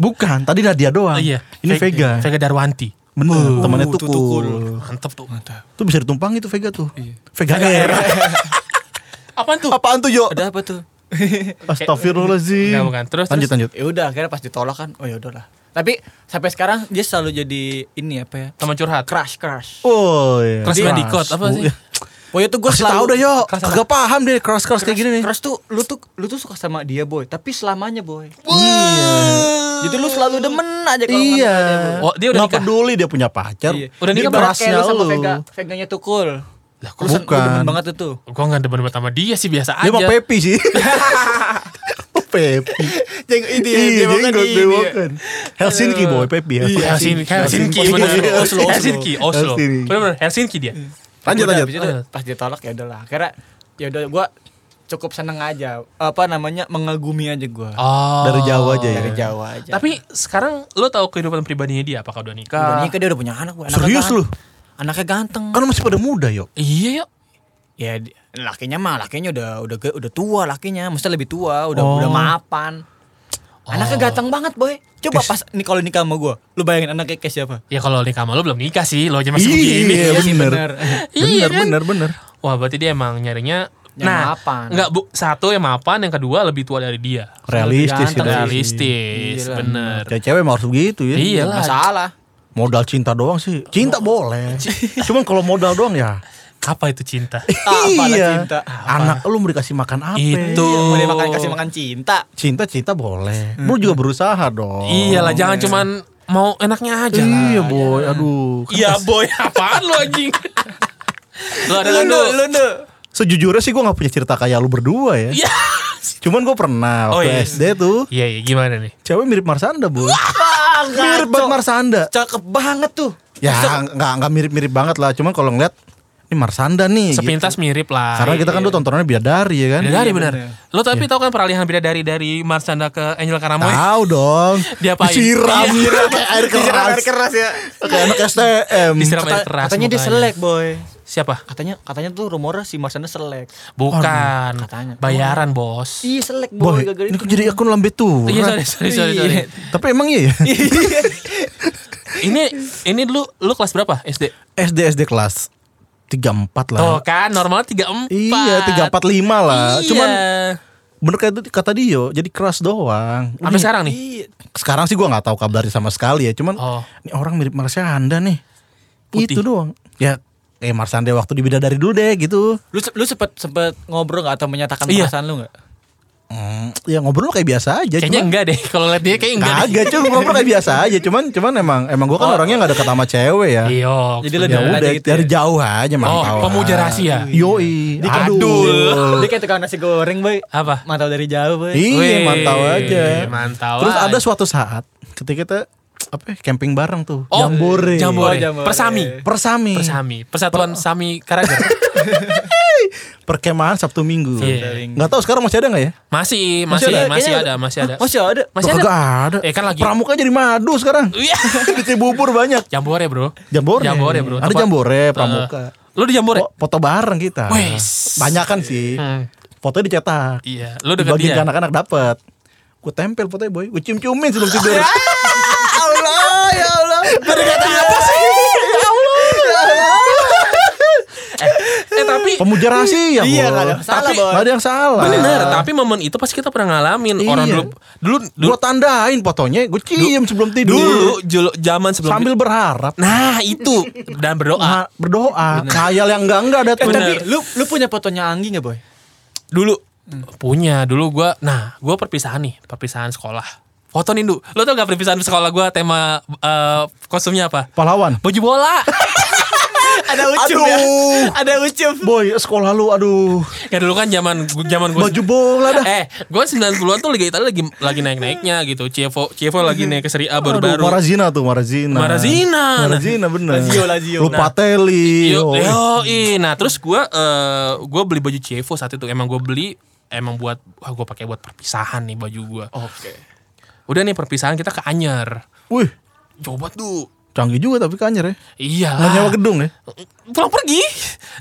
Speaker 4: Bukan, tadi Nadia
Speaker 2: Oh,
Speaker 4: doang.
Speaker 2: iya. Oh,
Speaker 4: Ini
Speaker 2: Ve-
Speaker 4: Vega.
Speaker 2: Vega Darwanti.
Speaker 4: Bener, temannya
Speaker 3: tuh
Speaker 4: Tukul.
Speaker 3: Tukul.
Speaker 2: Mantep tuh.
Speaker 4: Tuh bisa ditumpangi tuh Vega tuh.
Speaker 2: Iya.
Speaker 4: Vega, Air.
Speaker 2: Apaan tuh?
Speaker 4: Apaan tuh, Yo?
Speaker 3: Ada apa tuh?
Speaker 4: Astagfirullahaladzim.
Speaker 2: Enggak, bukan. Terus,
Speaker 4: lanjut
Speaker 2: terus.
Speaker 4: lanjut.
Speaker 3: ya udah, akhirnya pas ditolak kan. Oh, ya udahlah. Tapi sampai sekarang dia selalu jadi ini apa ya?
Speaker 2: Teman curhat.
Speaker 3: Crush, crush.
Speaker 4: Oh, iya.
Speaker 2: Crash
Speaker 4: Keras.
Speaker 2: Bandicoot, apa
Speaker 4: Bu,
Speaker 2: sih?
Speaker 4: iya.
Speaker 3: Oh, ya tuh gue
Speaker 4: Kasih tahu
Speaker 3: selalu
Speaker 4: deh, Yo.
Speaker 2: Keras apa?
Speaker 4: Kagak paham deh keras-keras kayak gini nih.
Speaker 3: Terus tuh lu tuh lu tuh suka sama dia boy, tapi selamanya boy. Jadi lu selalu demen aja kalau nggak
Speaker 4: Iya.
Speaker 3: ada dia, boy.
Speaker 2: Oh, dia udah
Speaker 4: Nggak
Speaker 2: nikah?
Speaker 4: peduli dia punya pacar.
Speaker 3: Iya.
Speaker 2: Udah
Speaker 4: Dia
Speaker 2: nikah
Speaker 3: Ibarat
Speaker 4: kerasnya
Speaker 3: kayak lu sama
Speaker 4: lu.
Speaker 3: Vega, Veganya tukul.
Speaker 2: Lah, kok
Speaker 3: Lu sen- lu
Speaker 4: bukan.
Speaker 3: demen banget itu.
Speaker 2: Gue gak demen banget sama dia sih biasa
Speaker 4: Dia
Speaker 2: aja.
Speaker 4: mau Pepi sih. Pepi.
Speaker 3: Jeng ini
Speaker 4: Iya, jenggot bewokan. Helsinki boy, Pepi.
Speaker 2: Iya, Helsinki, Helsinki,
Speaker 4: Iya, Helsinki.
Speaker 2: bener.
Speaker 4: Iya,
Speaker 2: Oslo, Helsinki, Oslo.
Speaker 4: Helsinki.
Speaker 2: Bener-bener Helsinki dia.
Speaker 4: Lanjut
Speaker 3: Udah,
Speaker 4: lanjut.
Speaker 3: habis itu pas ditolak ya udahlah. Karena ya udah gua cukup seneng aja. Apa namanya? Mengagumi aja gua.
Speaker 2: Oh.
Speaker 4: Dari jauh aja ya.
Speaker 3: Dari Jawa aja.
Speaker 2: Tapi sekarang lo tahu kehidupan pribadinya dia apakah udah nikah?
Speaker 3: udah nikah dia udah punya anak, boy. Anaknya
Speaker 4: Serius
Speaker 3: gan-
Speaker 4: lu?
Speaker 3: Anaknya ganteng.
Speaker 4: Kan masih pada muda, Yo.
Speaker 2: Iya yuk.
Speaker 3: Ya di- lakinya mah lakinya udah udah ge- udah tua lakinya, mesti lebih tua, udah
Speaker 4: Oh.
Speaker 3: udah mapan. Anaknya ganteng banget, boy. Coba pas nih kalau nikah sama gua, lu bayangin anaknya kayak siapa?
Speaker 2: Ya kalau nikah sama lo belum nikah sih, lo aja masih begini.
Speaker 4: Iya,
Speaker 3: Iya sih,
Speaker 4: bener.
Speaker 3: bener.
Speaker 2: Iya,
Speaker 4: Bener,
Speaker 2: kan?
Speaker 4: bener, bener.
Speaker 2: Wah berarti dia emang nyarinya
Speaker 3: Yang mapan.
Speaker 2: Enggak, bu, satu yang mapan, yang kedua lebih tua dari dia.
Speaker 4: Realistis
Speaker 3: Ganteng,
Speaker 4: sih.
Speaker 2: Realistis,
Speaker 3: Iya lah.
Speaker 2: bener.
Speaker 4: Cewek mah harus begitu ya.
Speaker 2: Iya lah.
Speaker 3: Masalah.
Speaker 4: Modal cinta doang sih. Cinta boleh. Cuman kalau modal doang ya. Iya.
Speaker 2: Apa itu cinta?
Speaker 3: Apalah cinta.
Speaker 4: Anak lu mau dikasih makan apa?
Speaker 2: itu.
Speaker 3: Mau dimakan kasih makan cinta.
Speaker 4: Cinta-cinta boleh. Lu juga berusaha dong.
Speaker 2: Iyalah, jangan cuman mau enaknya aja lah.
Speaker 4: Oh, Iya boy, aduh. Kan
Speaker 2: Iya
Speaker 4: pas-
Speaker 2: boy, apaan lo anjing? lo ada kan
Speaker 3: Lu, lu, lu.
Speaker 4: Sejujurnya sih gue gak punya cerita kayak lu berdua ya.
Speaker 2: Iya.
Speaker 4: Cuman gue pernah
Speaker 2: Oh,
Speaker 4: waktu
Speaker 2: iya.
Speaker 4: SD tuh
Speaker 2: Iya, iya, gimana nih?
Speaker 4: cewek mirip Marsanda bu. mirip banget Marsanda.
Speaker 3: Cakep banget tuh.
Speaker 4: Ya nggak nggak mirip-mirip banget lah. Cuman kalau ngeliat ini Marsanda nih. gitu.
Speaker 2: Iya, Sepintas mirip lah.
Speaker 4: Karena kita kan tuh tontonannya bidadari
Speaker 2: Iya.
Speaker 4: ya kan. Iya.
Speaker 2: Bidadari benar.
Speaker 3: bener.
Speaker 2: Lo tapi tau kan peralihan bidadari dari Marsanda ke Angel Karamoy?
Speaker 4: Tahu dong.
Speaker 2: Diapain?
Speaker 4: Disiram
Speaker 2: Iya.
Speaker 4: kayak air keras.
Speaker 3: ya.
Speaker 4: Kayak anak STM.
Speaker 2: Disiram air
Speaker 3: Kata-
Speaker 2: keras.
Speaker 3: katanya dia
Speaker 2: mukanya.
Speaker 3: selek, boy.
Speaker 2: Siapa?
Speaker 3: Katanya katanya tuh rumornya si Marsanda selek.
Speaker 2: Bukan.
Speaker 3: katanya.
Speaker 2: Bayaran, Bos.
Speaker 3: Iya, selek,
Speaker 4: Boy,
Speaker 3: boy. Gara-gara
Speaker 4: ini
Speaker 3: itu.
Speaker 4: kok jadi akun lambe tuh.
Speaker 2: Iya, sorry, sorry, sorry, sorry.
Speaker 3: Iya.
Speaker 4: Tapi emang iya ya.
Speaker 2: ini ini dulu lu kelas berapa SD?
Speaker 4: SD SD kelas 34 lah.
Speaker 2: Tuh kan normalnya 34.
Speaker 4: Iya, 345 lah.
Speaker 2: Iya.
Speaker 4: Cuman ya bener kayak itu kata Dio, jadi keras doang.
Speaker 2: sampai sekarang nih.
Speaker 3: Iya.
Speaker 4: Sekarang sih gua nggak tahu kabarnya sama sekali ya, cuman
Speaker 2: Oh.
Speaker 4: ini orang mirip Marsha Anda nih.
Speaker 2: Putih.
Speaker 4: Itu doang. Ya kayak Marsande waktu di bidadari dulu deh gitu.
Speaker 3: Lu se- lu sempet sempet ngobrol nggak atau menyatakan
Speaker 2: Iya.
Speaker 3: perasaan lu nggak?
Speaker 4: Hmm, ya ngobrol kayak biasa aja.
Speaker 2: Kayaknya
Speaker 4: cuman-
Speaker 2: enggak deh. Kalau lihat dia kayak enggak. deh.
Speaker 4: Kagak cuy ngobrol kayak biasa aja. Cuman cuman emang emang gue kan orangnya nggak deket sama cewek ya.
Speaker 2: Iya.
Speaker 3: Jadi
Speaker 4: Ya
Speaker 3: lu dari-
Speaker 4: udah
Speaker 3: aja gitu
Speaker 4: dari
Speaker 3: ya?
Speaker 4: jauh aja mantau.
Speaker 2: Oh, pemuja rahasia. Iya.
Speaker 4: Yoi.
Speaker 2: Aduh.
Speaker 3: Dia kayak tukang nasi goreng, boy.
Speaker 2: Apa?
Speaker 3: Mantau dari jauh, boy.
Speaker 4: Iya
Speaker 2: Wih,
Speaker 4: mantau aja.
Speaker 2: mantau
Speaker 4: Terus
Speaker 2: aja.
Speaker 4: ada suatu saat ketika kita apa ya, camping bareng tuh.
Speaker 2: Oh,
Speaker 4: jambore.
Speaker 2: Jambore.
Speaker 3: Oh, jambore.
Speaker 2: Persami.
Speaker 4: Persami.
Speaker 2: Persami. Persatuan
Speaker 4: Oh.
Speaker 2: Sami Karager.
Speaker 4: Perkemahan Sabtu Minggu.
Speaker 2: Iya.
Speaker 4: Nggak tahu sekarang masih ada nggak ya?
Speaker 2: Masih, masih,
Speaker 3: ada,
Speaker 2: masih
Speaker 3: kayaknya
Speaker 2: ada, masih ada.
Speaker 3: Hah, Masih ada.
Speaker 2: Masih
Speaker 4: Loh,
Speaker 2: ada.
Speaker 4: Oh, kagak ada.
Speaker 2: Eh, kan lagi-
Speaker 4: Pramuka jadi madu sekarang.
Speaker 2: Iya.
Speaker 4: di Cibubur banyak.
Speaker 2: Jambore, Bro.
Speaker 4: Jambore.
Speaker 2: Jambore, Bro.
Speaker 4: Ada
Speaker 2: Tempat-
Speaker 4: jambore, pramuka. Oh.
Speaker 2: Eh, Lu di Jambore?
Speaker 4: Po- foto bareng kita.
Speaker 2: Wes.
Speaker 4: Banyak kan sih.
Speaker 2: Hmm.
Speaker 3: Iya.
Speaker 4: Fotonya dicetak.
Speaker 2: Iya, lu deket
Speaker 4: Dibagiin
Speaker 2: dia.
Speaker 4: ke anak-anak dapat. Gue tempel fotonya boy. Gue cium-ciumin sebelum tidur. Ya
Speaker 3: Iya.
Speaker 4: Allah, ya Allah. Berkata apa sih? Ya Allah.
Speaker 2: Eh, tapi
Speaker 4: Pemuja rahasia,
Speaker 3: Iya,
Speaker 4: Boy.
Speaker 3: nggak ada yang salah,
Speaker 4: Tapi-
Speaker 3: Boy.
Speaker 4: nggak ada yang salah.
Speaker 2: bener, tapi momen itu pasti kita pernah ngalamin
Speaker 4: Ah. Iya.
Speaker 2: orang dulu dulu dulu,
Speaker 4: Gue tandain fotonya, gue cium sebelum tidur.
Speaker 2: dulu, jul- zaman sebelum
Speaker 4: Sambil berharap.
Speaker 2: Nah, itu dan berdoa.
Speaker 4: Nah, berdoa, khayal yang enggak-enggak ada
Speaker 3: Eh,
Speaker 4: tuh.
Speaker 3: tapi lu lu punya fotonya Anggi nggak, boy?
Speaker 2: Dulu punya dulu gua nah, gua perpisahan nih, perpisahan sekolah. Foto Nindu. Lo tau gak perpisahan sekolah gua tema eh, kostumnya apa?
Speaker 4: Pahlawan.
Speaker 2: Baju bola.
Speaker 3: Ada ucup ya.
Speaker 4: Aduh.
Speaker 3: Ada ucup.
Speaker 4: Boy, sekolah lu aduh.
Speaker 2: ya dulu kan zaman zaman gua
Speaker 4: Baju bola dah.
Speaker 2: Eh, gue 90-an tuh Liga Italia lagi lagi naik-naiknya gitu. CFO CFO lagi naik ke Serie A
Speaker 4: Mhm. Aduh,
Speaker 2: baru-baru.
Speaker 4: Marazina tuh, Marazina.
Speaker 2: Marazina. nah.
Speaker 4: Marazina bener.
Speaker 3: Lazio, Lazio.
Speaker 4: Lupatelli.
Speaker 2: Yo,
Speaker 4: oh.
Speaker 2: yoi. Nah, terus gue eh gue beli baju CFO saat itu. Emang gue beli emang buat wah gue pakai buat perpisahan nih baju gue.
Speaker 3: Oke.
Speaker 2: Udah nih perpisahan kita ke Anyer.
Speaker 4: Wih,
Speaker 2: Coba tuh.
Speaker 4: canggih juga tapi kanyer ya. Nggak nyewa
Speaker 2: Iya.
Speaker 4: gedung ya.
Speaker 2: Pulang pergi.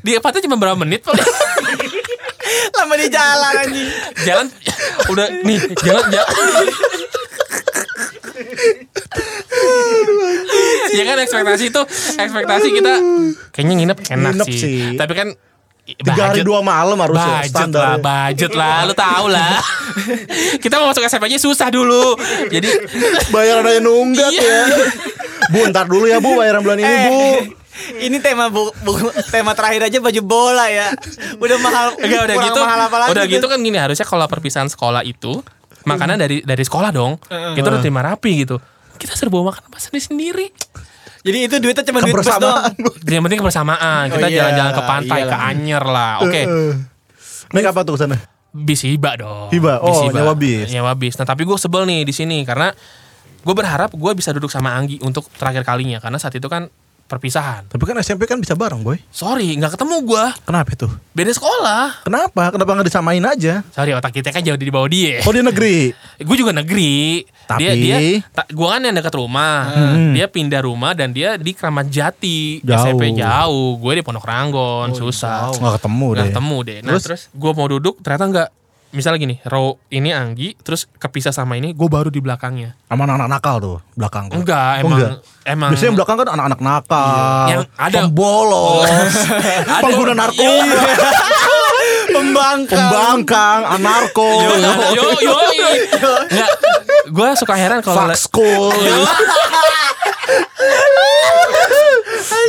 Speaker 2: Di Epatnya cuma berapa menit paling.
Speaker 3: Lama di jalan anjing.
Speaker 2: jalan udah nih jalan jalan ya kan ekspektasi itu ekspektasi kita kayaknya nginep enak
Speaker 4: Nginep
Speaker 2: sih.
Speaker 4: sih.
Speaker 2: tapi kan
Speaker 4: Tiga hari dua malam
Speaker 3: ya,
Speaker 4: harusnya
Speaker 2: budget
Speaker 4: standar. ya.
Speaker 2: lah budget lah lu tau lah kita mau masuk SMP aja susah dulu jadi
Speaker 4: Bayaran aja nunggak
Speaker 2: Iya.
Speaker 4: ya. Bu, ntar dulu ya Bu, bayaran bulan ini Bu.
Speaker 3: Eh.
Speaker 2: Eh.
Speaker 3: ini tema bu, bu- tema terakhir aja baju bola ya. Udah mahal.
Speaker 2: enggak udah
Speaker 3: kurang
Speaker 2: gitu
Speaker 3: Mahal apa lagi
Speaker 2: udah
Speaker 3: tuh?
Speaker 2: gitu kan gini harusnya kalau perpisahan sekolah itu makanan dari
Speaker 3: Mm-hmm.
Speaker 2: dari sekolah dong kita udah terima rapi gitu kita serba makan apa sendiri sendiri
Speaker 3: Jadi itu duitnya cuma duit bus doang.
Speaker 4: Kebersamaan. Bu.
Speaker 2: yang penting kebersamaan kita
Speaker 3: Oh, iyalah,
Speaker 2: jalan-jalan ke pantai
Speaker 3: iyalah.
Speaker 2: ke Anyer lah oke
Speaker 4: iya, Eh, Naik apa tuh ke sana?
Speaker 2: bis hiba dong
Speaker 4: Hiba. Oh, nyewa bis.
Speaker 2: nyewa bis nah tapi gue sebel nih di sini karena gue berharap gue bisa duduk sama Anggi untuk terakhir kalinya karena saat itu kan perpisahan
Speaker 4: Tapi kan SMP kan bisa bareng, Boy.
Speaker 2: sorry nggak ketemu gue
Speaker 4: Kenapa itu?
Speaker 2: beda sekolah
Speaker 4: Kenapa? Kenapa nggak disamain aja?
Speaker 2: sorry otak kita kan jauh di bawah dia
Speaker 4: Oh, di negeri.
Speaker 2: gue juga negeri
Speaker 4: Tapi-
Speaker 2: dia dia gue kan yang dekat rumah dia pindah rumah dan dia di Kramat Jati
Speaker 4: Jauh.
Speaker 2: SMP jauh gue di Pondok Ranggon susah
Speaker 4: Nggak ketemu
Speaker 2: Udah
Speaker 4: deh.
Speaker 2: ketemu deh. Nah,
Speaker 4: Terus?
Speaker 2: terus, gue mau duduk, ternyata nggak. Misalnya gini, row ini Anggi, terus kepisah sama ini, gue baru di belakangnya.
Speaker 4: Sama anak-anak nakal tuh belakang. tuh.
Speaker 2: Enggak,
Speaker 4: Oh,
Speaker 2: emang emang Iya,
Speaker 4: Biasanya yang belakang kan anak-anak nakal,
Speaker 2: Yang ada- Oh.
Speaker 4: pembolos,
Speaker 2: Ada-
Speaker 4: pengguna narkoba,
Speaker 2: Iya,
Speaker 3: Pembangkang.
Speaker 4: pembangkang, anarko,
Speaker 2: Yo, yo, yo, gue suka heran kalau
Speaker 4: fuck school,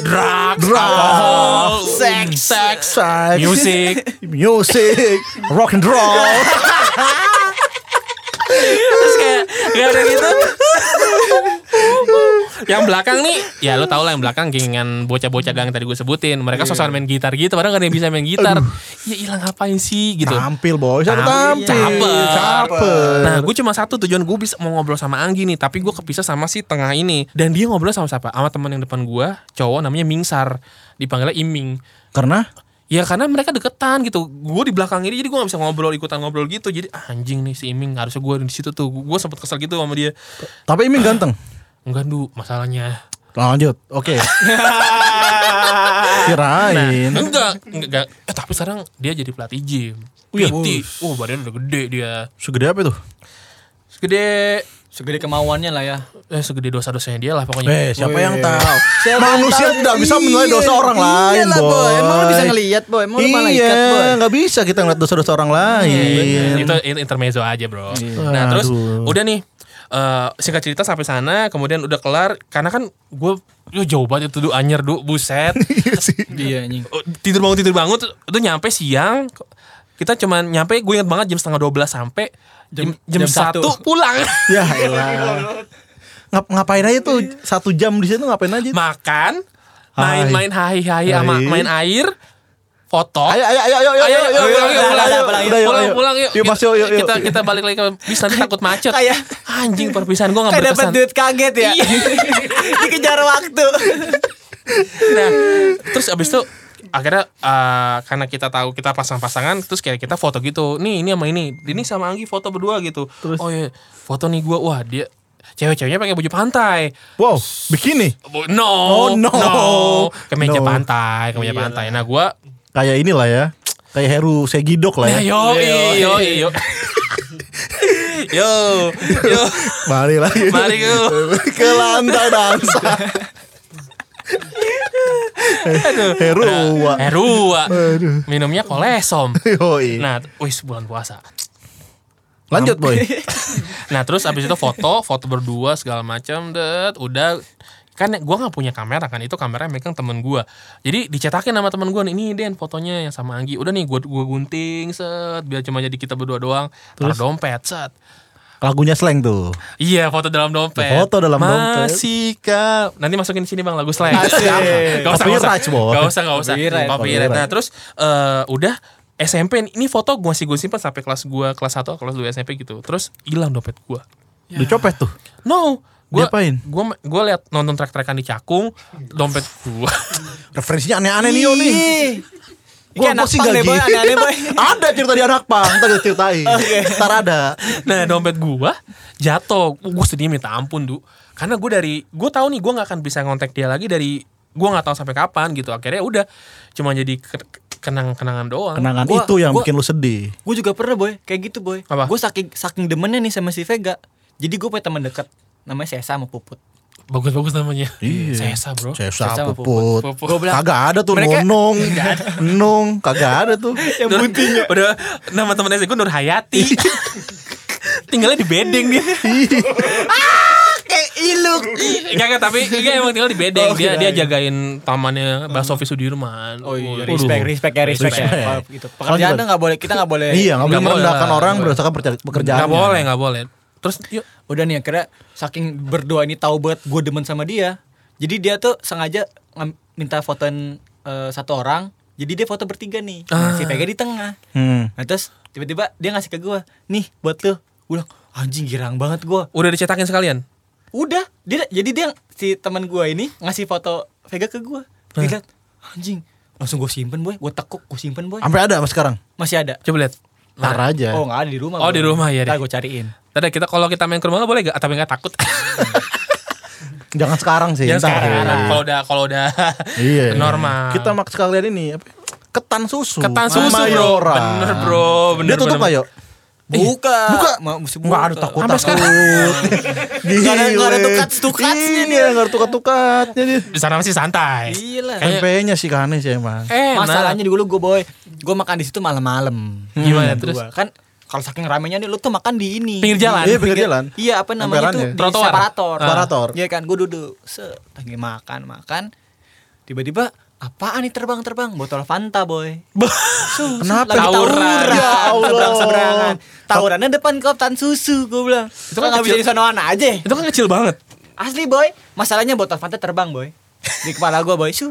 Speaker 2: drug,
Speaker 4: Drug.
Speaker 2: alkohol,
Speaker 3: Sex.
Speaker 2: sex,
Speaker 4: sex,
Speaker 2: music.
Speaker 4: music, rock and roll.
Speaker 2: terus kayak gak ada gitu yang belakang nih ya lo tau lah yang belakang gengan bocah-bocah gang tadi gue sebutin mereka sosokan main gitar gitu padahal gak ada yang bisa main gitar ya hilang ngapain sih gitu
Speaker 4: Tampil boy, satu
Speaker 2: Tampil,
Speaker 4: tampil,
Speaker 2: caper.
Speaker 4: caper.
Speaker 2: Nah, gue cuma satu tujuan gue bisa mau ngobrol sama Anggi nih, tapi gue kepisah sama si tengah ini. Dan dia ngobrol sama siapa? Sama teman yang depan gue, cowok namanya Mingsar, dipanggilnya Iming.
Speaker 4: Karena
Speaker 2: Ya karena mereka deketan gitu. Gue di belakang ini jadi gue gak bisa ngobrol ikutan ngobrol gitu. Jadi ah, anjing nih si Iming harusnya gue di situ tuh. Gue sempet kesel gitu sama dia.
Speaker 4: tapi Iming ganteng.
Speaker 2: Enggak du, masalahnya.
Speaker 4: Lanjut, oke. Kirain.
Speaker 2: Enggak, enggak, enggak. Eh, tapi sekarang dia jadi pelatih gym.
Speaker 4: Wih,
Speaker 2: PT. Oh, badannya udah gede dia.
Speaker 4: Segede apa itu?
Speaker 2: Segede
Speaker 3: Segede kemauannya lah ya.
Speaker 2: eh segede dosa-dosanya dia lah pokoknya.
Speaker 4: Eh, siapa
Speaker 3: Weh.
Speaker 4: yang tahu?
Speaker 3: Siapa
Speaker 4: Manusia
Speaker 3: yang tahu?
Speaker 4: tidak bisa menilai dosa
Speaker 3: Iya,
Speaker 4: orang
Speaker 3: iya
Speaker 4: lain,
Speaker 3: lah,
Speaker 4: boy.
Speaker 3: Boy. Emang lu bisa ngelihat, boy? Emang lu malaikat, boy?
Speaker 4: Iya, nggak bisa Iya,
Speaker 2: Iya,
Speaker 4: kita ngeliat dosa-dosa orang lain.
Speaker 2: Itu itu intermezzo aja, Bro. Nah, terus
Speaker 4: Iya. Aduh.
Speaker 2: udah nih eh, singkat cerita sampai sana kemudian udah kelar karena kan gue yo jauh banget itu du anyer du buset
Speaker 4: Iya sih.
Speaker 3: Iya anjing.
Speaker 2: Oh, tidur bangun tidur bangun tuh- itu nyampe siang kita cuman nyampe gue inget banget jam setengah 12 sampai jam, jam,
Speaker 3: Jam- jam
Speaker 2: satu
Speaker 3: satu.
Speaker 2: pulang
Speaker 4: Ya elah. Ngap, ngapain aja tuh satu jam di situ ngapain aja?
Speaker 2: makan
Speaker 4: Hai.
Speaker 2: main-main hai hai sama
Speaker 4: Hai.
Speaker 2: main air foto
Speaker 4: Ayo ayo ayo ayo
Speaker 2: Ayo, ayo,
Speaker 4: ayo,
Speaker 2: pulang, yuk, pulang,
Speaker 4: ayo, ayo,
Speaker 3: pulang,
Speaker 4: udah,
Speaker 2: pulang,
Speaker 4: yuk,
Speaker 2: pulang,
Speaker 4: ayo.
Speaker 2: yuk.
Speaker 4: Yuk mas yuk yuk. yuk.
Speaker 2: kita kita balik lagi ke bis nanti takut macet
Speaker 3: Kayak-
Speaker 2: anjing perpisahan gue nggak
Speaker 3: Kayak dapat
Speaker 2: berkesan
Speaker 3: duit kaget ya. Dikejar waktu.
Speaker 2: nah terus abis itu akhirnya eh, karena kita tahu kita pasang-pasangan terus kayak kita foto gitu nih ini sama ini ini sama Anggi foto berdua gitu oh iya foto nih gua wah dia cewek-ceweknya pakai baju pantai
Speaker 4: Wow bikini
Speaker 2: Bu- no
Speaker 4: Oh, no.
Speaker 2: kemeja
Speaker 4: No.
Speaker 2: pantai kemeja pantai nah gua
Speaker 4: kayak inilah ya kayak Heru Segidok lah
Speaker 2: nah,
Speaker 4: ya.
Speaker 2: yo yo yo yo yo
Speaker 4: Mari lagi.
Speaker 2: Mari, yuk.
Speaker 4: ke lantai dansa. Heru. Wak.
Speaker 3: Nah.
Speaker 2: Herua
Speaker 4: Aduh.
Speaker 2: Eh, minumnya kolesom
Speaker 4: Yoi.
Speaker 2: nah wis bulan puasa
Speaker 4: Lanjut boy.
Speaker 2: Nah terus abis itu foto, foto berdua segala macam, det, udah kan gua nggak punya kamera kan itu kamera yang megang temen gua jadi dicetakin sama temen gua nih ini Den fotonya yang sama Anggi udah nih gua gua gunting set biar cuma jadi kita berdua doang taruh dompet set
Speaker 4: Lagunya slang tuh.
Speaker 2: iya foto dalam dompet
Speaker 4: Foto dalam dompet.
Speaker 2: masih kau nanti masukin sini bang lagu slang
Speaker 3: Asik.
Speaker 2: gak usah gak usah
Speaker 4: Copyright, Bos.
Speaker 2: gak usah gak usah
Speaker 3: Copyright.
Speaker 2: Copyright. nah terus eh, udah SMP ini foto gua sih gua simpan sampai kelas gua kelas 1 kelas 2 SMP gitu terus hilang dompet gua
Speaker 3: Ya.
Speaker 4: Dicopet tuh.
Speaker 2: No. Gua,
Speaker 4: Diapain?
Speaker 2: Gue gue lihat nonton trek-trekan di Cakung, dompet gua.
Speaker 4: Referensinya aneh-aneh nih yo nih.
Speaker 3: Ini anak pang deh,
Speaker 4: gitu.
Speaker 3: Boy. Aneh-aneh, Boy.
Speaker 4: ada cerita di anak pang, ntar kita ceritain. Ntar ada.
Speaker 2: nah, dompet gua jatuh. Gue sedih minta ampun, Du. Karena gue dari gue tahu nih gue nggak akan bisa ngontak dia lagi dari gue nggak tahu sampai kapan gitu. Akhirnya udah cuma jadi ke- kenang-kenangan doang.
Speaker 4: Kenangan
Speaker 3: Nah,
Speaker 4: Nah,
Speaker 3: Gua-
Speaker 4: itu yang
Speaker 3: gua-
Speaker 4: bikin lu sedih.
Speaker 3: Gue juga pernah boy, kayak gitu boy.
Speaker 2: Apa?
Speaker 3: Gue saking saking demennya nih sama si Vega. Jadi gue punya teman dekat, namanya Sesa sama Puput.
Speaker 2: Bagus-bagus namanya.
Speaker 4: Iya.
Speaker 2: Sesa, Bro.
Speaker 4: Saya
Speaker 3: Sama
Speaker 4: usah
Speaker 3: puput.
Speaker 4: puput.
Speaker 2: Puput.
Speaker 3: Gua bilang,
Speaker 4: Kagak ada tuh
Speaker 3: mereka-
Speaker 4: nonong. Nong, kagak ada tuh.
Speaker 3: Yang
Speaker 2: Udah-
Speaker 3: bunting ya.
Speaker 2: Udah nama temen SD gue Nur Hayati. Tinggalnya di Bedeng dia.
Speaker 3: Kayak iluk.
Speaker 2: Enggak enggak tapi enggak emang tinggal di bedeng. dia dia jagain tamannya Mbak Sofi Sudirman.
Speaker 3: iya, Oh iya,
Speaker 2: Waduh.
Speaker 3: respect, respect ya, respect,
Speaker 4: Respect.
Speaker 3: ya. Kalau Gitu. Pekerjaannya nggak boleh, kita nggak boleh.
Speaker 4: Iya, nggak boleh
Speaker 2: Nggak
Speaker 4: merendahkan
Speaker 2: boleh.
Speaker 4: orang berdasarkan perca- pekerjaan.
Speaker 2: Nggak boleh, nggak boleh. Terus yuk
Speaker 3: Udah nih akhirnya saking berdoa ini tahu banget gue demen sama dia. Jadi dia tuh sengaja ngam- minta fotoin eh, satu orang. Jadi dia foto bertiga nih. Nah, Si Vega di tengah.
Speaker 4: Ah. Hmm.
Speaker 3: Nah terus tiba-tiba dia ngasih ke gue, nih buat lu. Gue bilang, anjing girang banget gue.
Speaker 2: udah dicetakin sekalian.
Speaker 3: Udah, dia jadi dia si teman gue ini ngasih foto Vega ke gue. Dilihat, anjing. Langsung gue simpen boy, gue tekuk, gue simpen boy.
Speaker 4: Sampai ada sama sekarang.
Speaker 3: Masih ada.
Speaker 2: Coba lihat.
Speaker 4: Ntar aja.
Speaker 3: Oh nggak ada di rumah.
Speaker 2: Oh, di rumah, iya,
Speaker 3: Ntar
Speaker 2: deh.
Speaker 3: gue cariin.
Speaker 2: Tadi kita kalau kita main ke rumah lo boleh gak? Tapi nggak takut.
Speaker 4: Jangan sekarang sih.
Speaker 2: Jangan
Speaker 4: ntar.
Speaker 2: sekarang. Kalau udah kalau udah
Speaker 4: Iya.
Speaker 2: normal.
Speaker 4: Kita mak sekalian ini apa? ya? Ketan susu.
Speaker 2: ketan susu bro.
Speaker 4: Mayora.
Speaker 2: Bener bro. Bener,
Speaker 4: Dia tutup
Speaker 2: bener. Ah,
Speaker 4: ayo.
Speaker 2: Iya.
Speaker 3: Buka. Buka.
Speaker 4: Enggak ada takut
Speaker 2: Sampai
Speaker 4: takut.
Speaker 3: Nggak ada- nggak ada
Speaker 4: Gile.
Speaker 3: tukat-tukatnya
Speaker 4: Iya, nggak ada tukat tukatnya dia.
Speaker 2: Di sana masih santai.
Speaker 3: Gila.
Speaker 2: Kayak-
Speaker 4: MP-nya sih aneh sih emang.
Speaker 2: Eh,
Speaker 3: Masalahnya dulu gue boy, gue makan di situ malam-malam.
Speaker 2: Hmm. Gimana
Speaker 3: Gua.
Speaker 2: terus?
Speaker 3: Kan kalau saking ramenya nih lu tuh makan di ini.
Speaker 2: Pinggir jalan?
Speaker 3: Di-
Speaker 4: Iya, pinggir jalan.
Speaker 3: Iya, apa namanya
Speaker 4: Emperan
Speaker 3: tuh?
Speaker 4: ya?
Speaker 3: Di
Speaker 2: Trotoar.
Speaker 3: Separator.
Speaker 4: Ah. Separator.
Speaker 3: Iya kan, gue duduk. Set, lagi makan, makan. Tiba-tiba apaan nih terbang-terbang? Botol Fanta, boy. Susu,
Speaker 4: Kenapa?
Speaker 3: Lagi
Speaker 2: Tawuran.
Speaker 3: tawuran.
Speaker 4: Ya Allah.
Speaker 3: Seberang-seberangan. Tawurannya depan keoptan susu, gue bilang. Itu
Speaker 2: kan
Speaker 3: kan nggak bisa
Speaker 2: kecil.
Speaker 3: disonoan aja.
Speaker 2: Itu kan kecil banget.
Speaker 3: Asli boy, masalahnya botol Fanta terbang boy Di kepala gua boy, Syuh.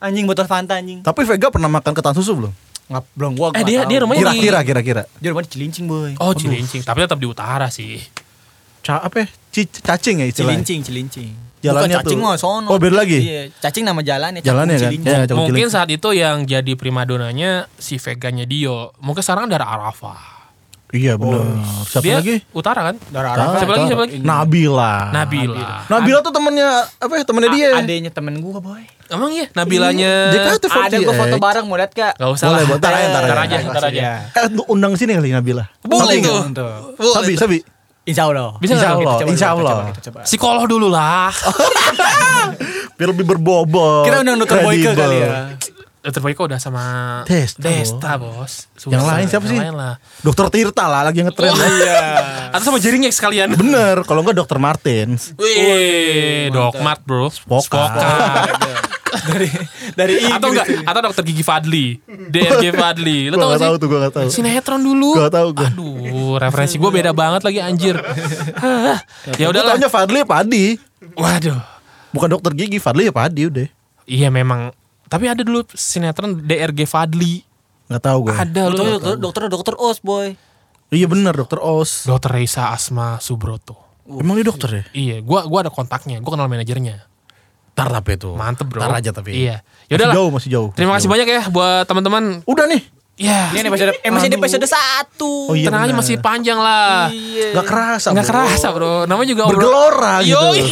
Speaker 3: Anjing botol Fanta anjing
Speaker 4: Tapi Vega pernah makan ketan susu belum?
Speaker 3: Nggak, belum gua,
Speaker 2: Eh,
Speaker 3: nggak
Speaker 2: dia-
Speaker 3: tahu.
Speaker 2: dia rumahnya- Ini-
Speaker 4: Kira-kira kira-kira.
Speaker 3: Dia rumahnya di Cilincing boy
Speaker 2: Oh, cilincing. Tapi tetap di utara sih.
Speaker 4: Ca apa ya? Ci- cacing ya istilahnya?
Speaker 3: Cilincing, Cilincing
Speaker 4: Jalannya
Speaker 3: Bukan, cacing
Speaker 4: tuh.
Speaker 3: mah sono
Speaker 4: Oh, beda lagi?
Speaker 3: Iya, cacing nama jalannya Cakung
Speaker 4: Jalannya kan?
Speaker 3: Cilincing.
Speaker 4: Iya, Cakung
Speaker 2: Mungkin
Speaker 4: Cilincing.
Speaker 2: saat itu yang jadi primadonanya si veganya Dio. Mungkin sekarang dari Arafah.
Speaker 4: Iya benar.
Speaker 2: Oh.
Speaker 4: Siapa
Speaker 2: Dia
Speaker 4: lagi?
Speaker 2: utara kan?
Speaker 3: Dari
Speaker 4: Tahu,
Speaker 3: Arafah.
Speaker 2: Siapa lagi,
Speaker 4: tahu.
Speaker 2: siapa lagi?
Speaker 4: Nabila.
Speaker 2: Nabila.
Speaker 4: Nabila tuh temennya apa ya? Temennya dia. kan
Speaker 3: A- Adenya temen gua boy
Speaker 2: Emang iya Nabilanya.
Speaker 4: JKT48.
Speaker 3: Ada gua foto bareng mau lihat gak?
Speaker 2: Gak usah
Speaker 4: Boleh,
Speaker 2: lah.
Speaker 4: boleh. Ntar aja, ntar
Speaker 2: Ntar
Speaker 4: aja.
Speaker 2: aja, ntar aja.
Speaker 4: Eh, lu undang sini kali Nabila.
Speaker 2: Boleh tuh.
Speaker 3: Untuk-
Speaker 4: Sabi, Sabi.
Speaker 3: Insya Allah
Speaker 2: Bisa
Speaker 4: Insya
Speaker 2: nggak?
Speaker 4: Allah,
Speaker 3: Coba dulu,
Speaker 4: Insya
Speaker 3: kita coba,
Speaker 4: Allah.
Speaker 3: kita coba.
Speaker 2: Psikolog dulu lah.
Speaker 4: Oh. Biar lebih berbobot.
Speaker 3: Kita undang Dr. Boyke
Speaker 4: kredibel.
Speaker 3: kali ya
Speaker 2: Dr. Boyko udah sama
Speaker 4: Desta,
Speaker 2: Desta bos. Susah.
Speaker 4: Yang lain siapa sih?
Speaker 2: lain lah.
Speaker 4: Dokter Tirta lah lagi ngetren.
Speaker 2: Atau sama jaringnya sekalian.
Speaker 4: Bener, kalau enggak Dokter Martins.
Speaker 2: Wih, Doc Mart bro. Spoka.
Speaker 3: dari dari Inggris.
Speaker 2: atau enggak atau dokter gigi Fadli DRG Fadli lo tau
Speaker 4: Gua nggak
Speaker 2: gak
Speaker 4: tahu
Speaker 2: sih
Speaker 4: tuh, gua nggak tahu.
Speaker 2: sinetron dulu
Speaker 4: Gua nggak tahu gua.
Speaker 2: aduh referensi gue beda banget lagi anjir Hah, ya
Speaker 4: Gua
Speaker 2: udahlah
Speaker 4: taunya Fadli ya Padi.
Speaker 2: waduh
Speaker 4: Bukan dokter gigi, Fadli ya Padi udah.
Speaker 2: iya memang tapi ada dulu sinetron DRG Fadli
Speaker 4: Enggak tahu gue.
Speaker 2: ada
Speaker 3: Dokter-
Speaker 2: lo
Speaker 3: dokter dokter dokter Os boy.
Speaker 4: Iya bener, Dokter Os.
Speaker 2: dokter Reisa Asma Subroto
Speaker 4: Emang dia dokter ya?
Speaker 2: iya gua gua ada kontaknya gua kenal manajernya
Speaker 4: Ntar tapi itu.
Speaker 2: mantep bro
Speaker 4: Ntar aja tapi.
Speaker 2: iya ya
Speaker 4: Masih jauh,
Speaker 2: udahlah
Speaker 4: masih jauh.
Speaker 2: terima kasih
Speaker 4: Masih
Speaker 2: banyak ya buat teman-teman
Speaker 4: jauh. Udah nih.
Speaker 2: ya
Speaker 3: Ini episode eh, masih di episode satu. Iya.
Speaker 4: Oh, iya,
Speaker 2: tenang aja
Speaker 4: benar.
Speaker 2: masih panjang lah
Speaker 4: Gak kerasa.
Speaker 2: Nggak
Speaker 4: Bro.
Speaker 2: kerasa bro Namanya juga
Speaker 4: Bergelora gitu.
Speaker 2: Yoi.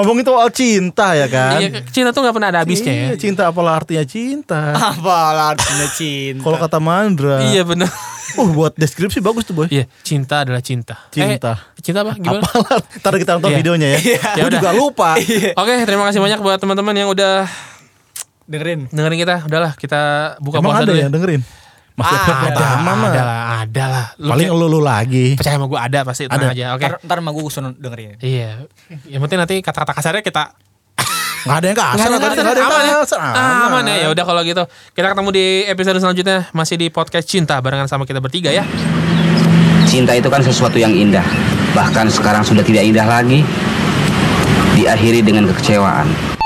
Speaker 4: Ngomongin soal cinta ya kan?
Speaker 2: Iya Cinta tuh nggak pernah ada habisnya ya
Speaker 4: Iya, cinta apalah artinya cinta?
Speaker 3: Apalah artinya cinta.
Speaker 4: Kalau kata Mandra.
Speaker 2: Iya bener
Speaker 4: Uh, buat deskripsi bagus tuh, Boy.
Speaker 2: Iya Cinta adalah cinta
Speaker 4: Cinta.
Speaker 2: Eh, Cinta apa? Gimana?
Speaker 4: Apalah, ntar kita nonton
Speaker 2: Iya.
Speaker 4: videonya ya.
Speaker 2: Ya
Speaker 4: Gue
Speaker 2: udah.
Speaker 4: juga lupa.
Speaker 2: Iya. Oke terima kasih banyak buat teman-teman yang udah
Speaker 3: dengerin.
Speaker 2: dengerin kita Udahlah kita buka
Speaker 4: Emang
Speaker 2: puasa
Speaker 4: ada
Speaker 2: dulu ya
Speaker 4: yang dengerin? Masih
Speaker 3: Ah,
Speaker 4: ada,
Speaker 2: Ada
Speaker 4: pertama mah.
Speaker 2: Ada lah Ada lah Lu
Speaker 4: Paling
Speaker 2: kayak-
Speaker 4: lu lagi.
Speaker 2: Percaya sama gue ada pasti Tenang
Speaker 4: Ada.
Speaker 2: aja Oke
Speaker 3: Ntar, ntar sama gue suruh dengerin.
Speaker 2: Iya Yang penting nanti kata-kata kasarnya kita
Speaker 4: Gak ada yang kasar,
Speaker 2: Nggak ada,
Speaker 4: tadi
Speaker 2: nggak
Speaker 4: nggak
Speaker 2: ada, aman ya.
Speaker 4: kasar.
Speaker 2: Ah, Aman ya. Ya udah kalau gitu. Kita ketemu di episode selanjutnya masih di podcast Cinta barengan sama kita bertiga ya.
Speaker 1: Cinta itu kan sesuatu yang indah. Bahkan sekarang sudah tidak indah lagi. Diakhiri dengan kekecewaan.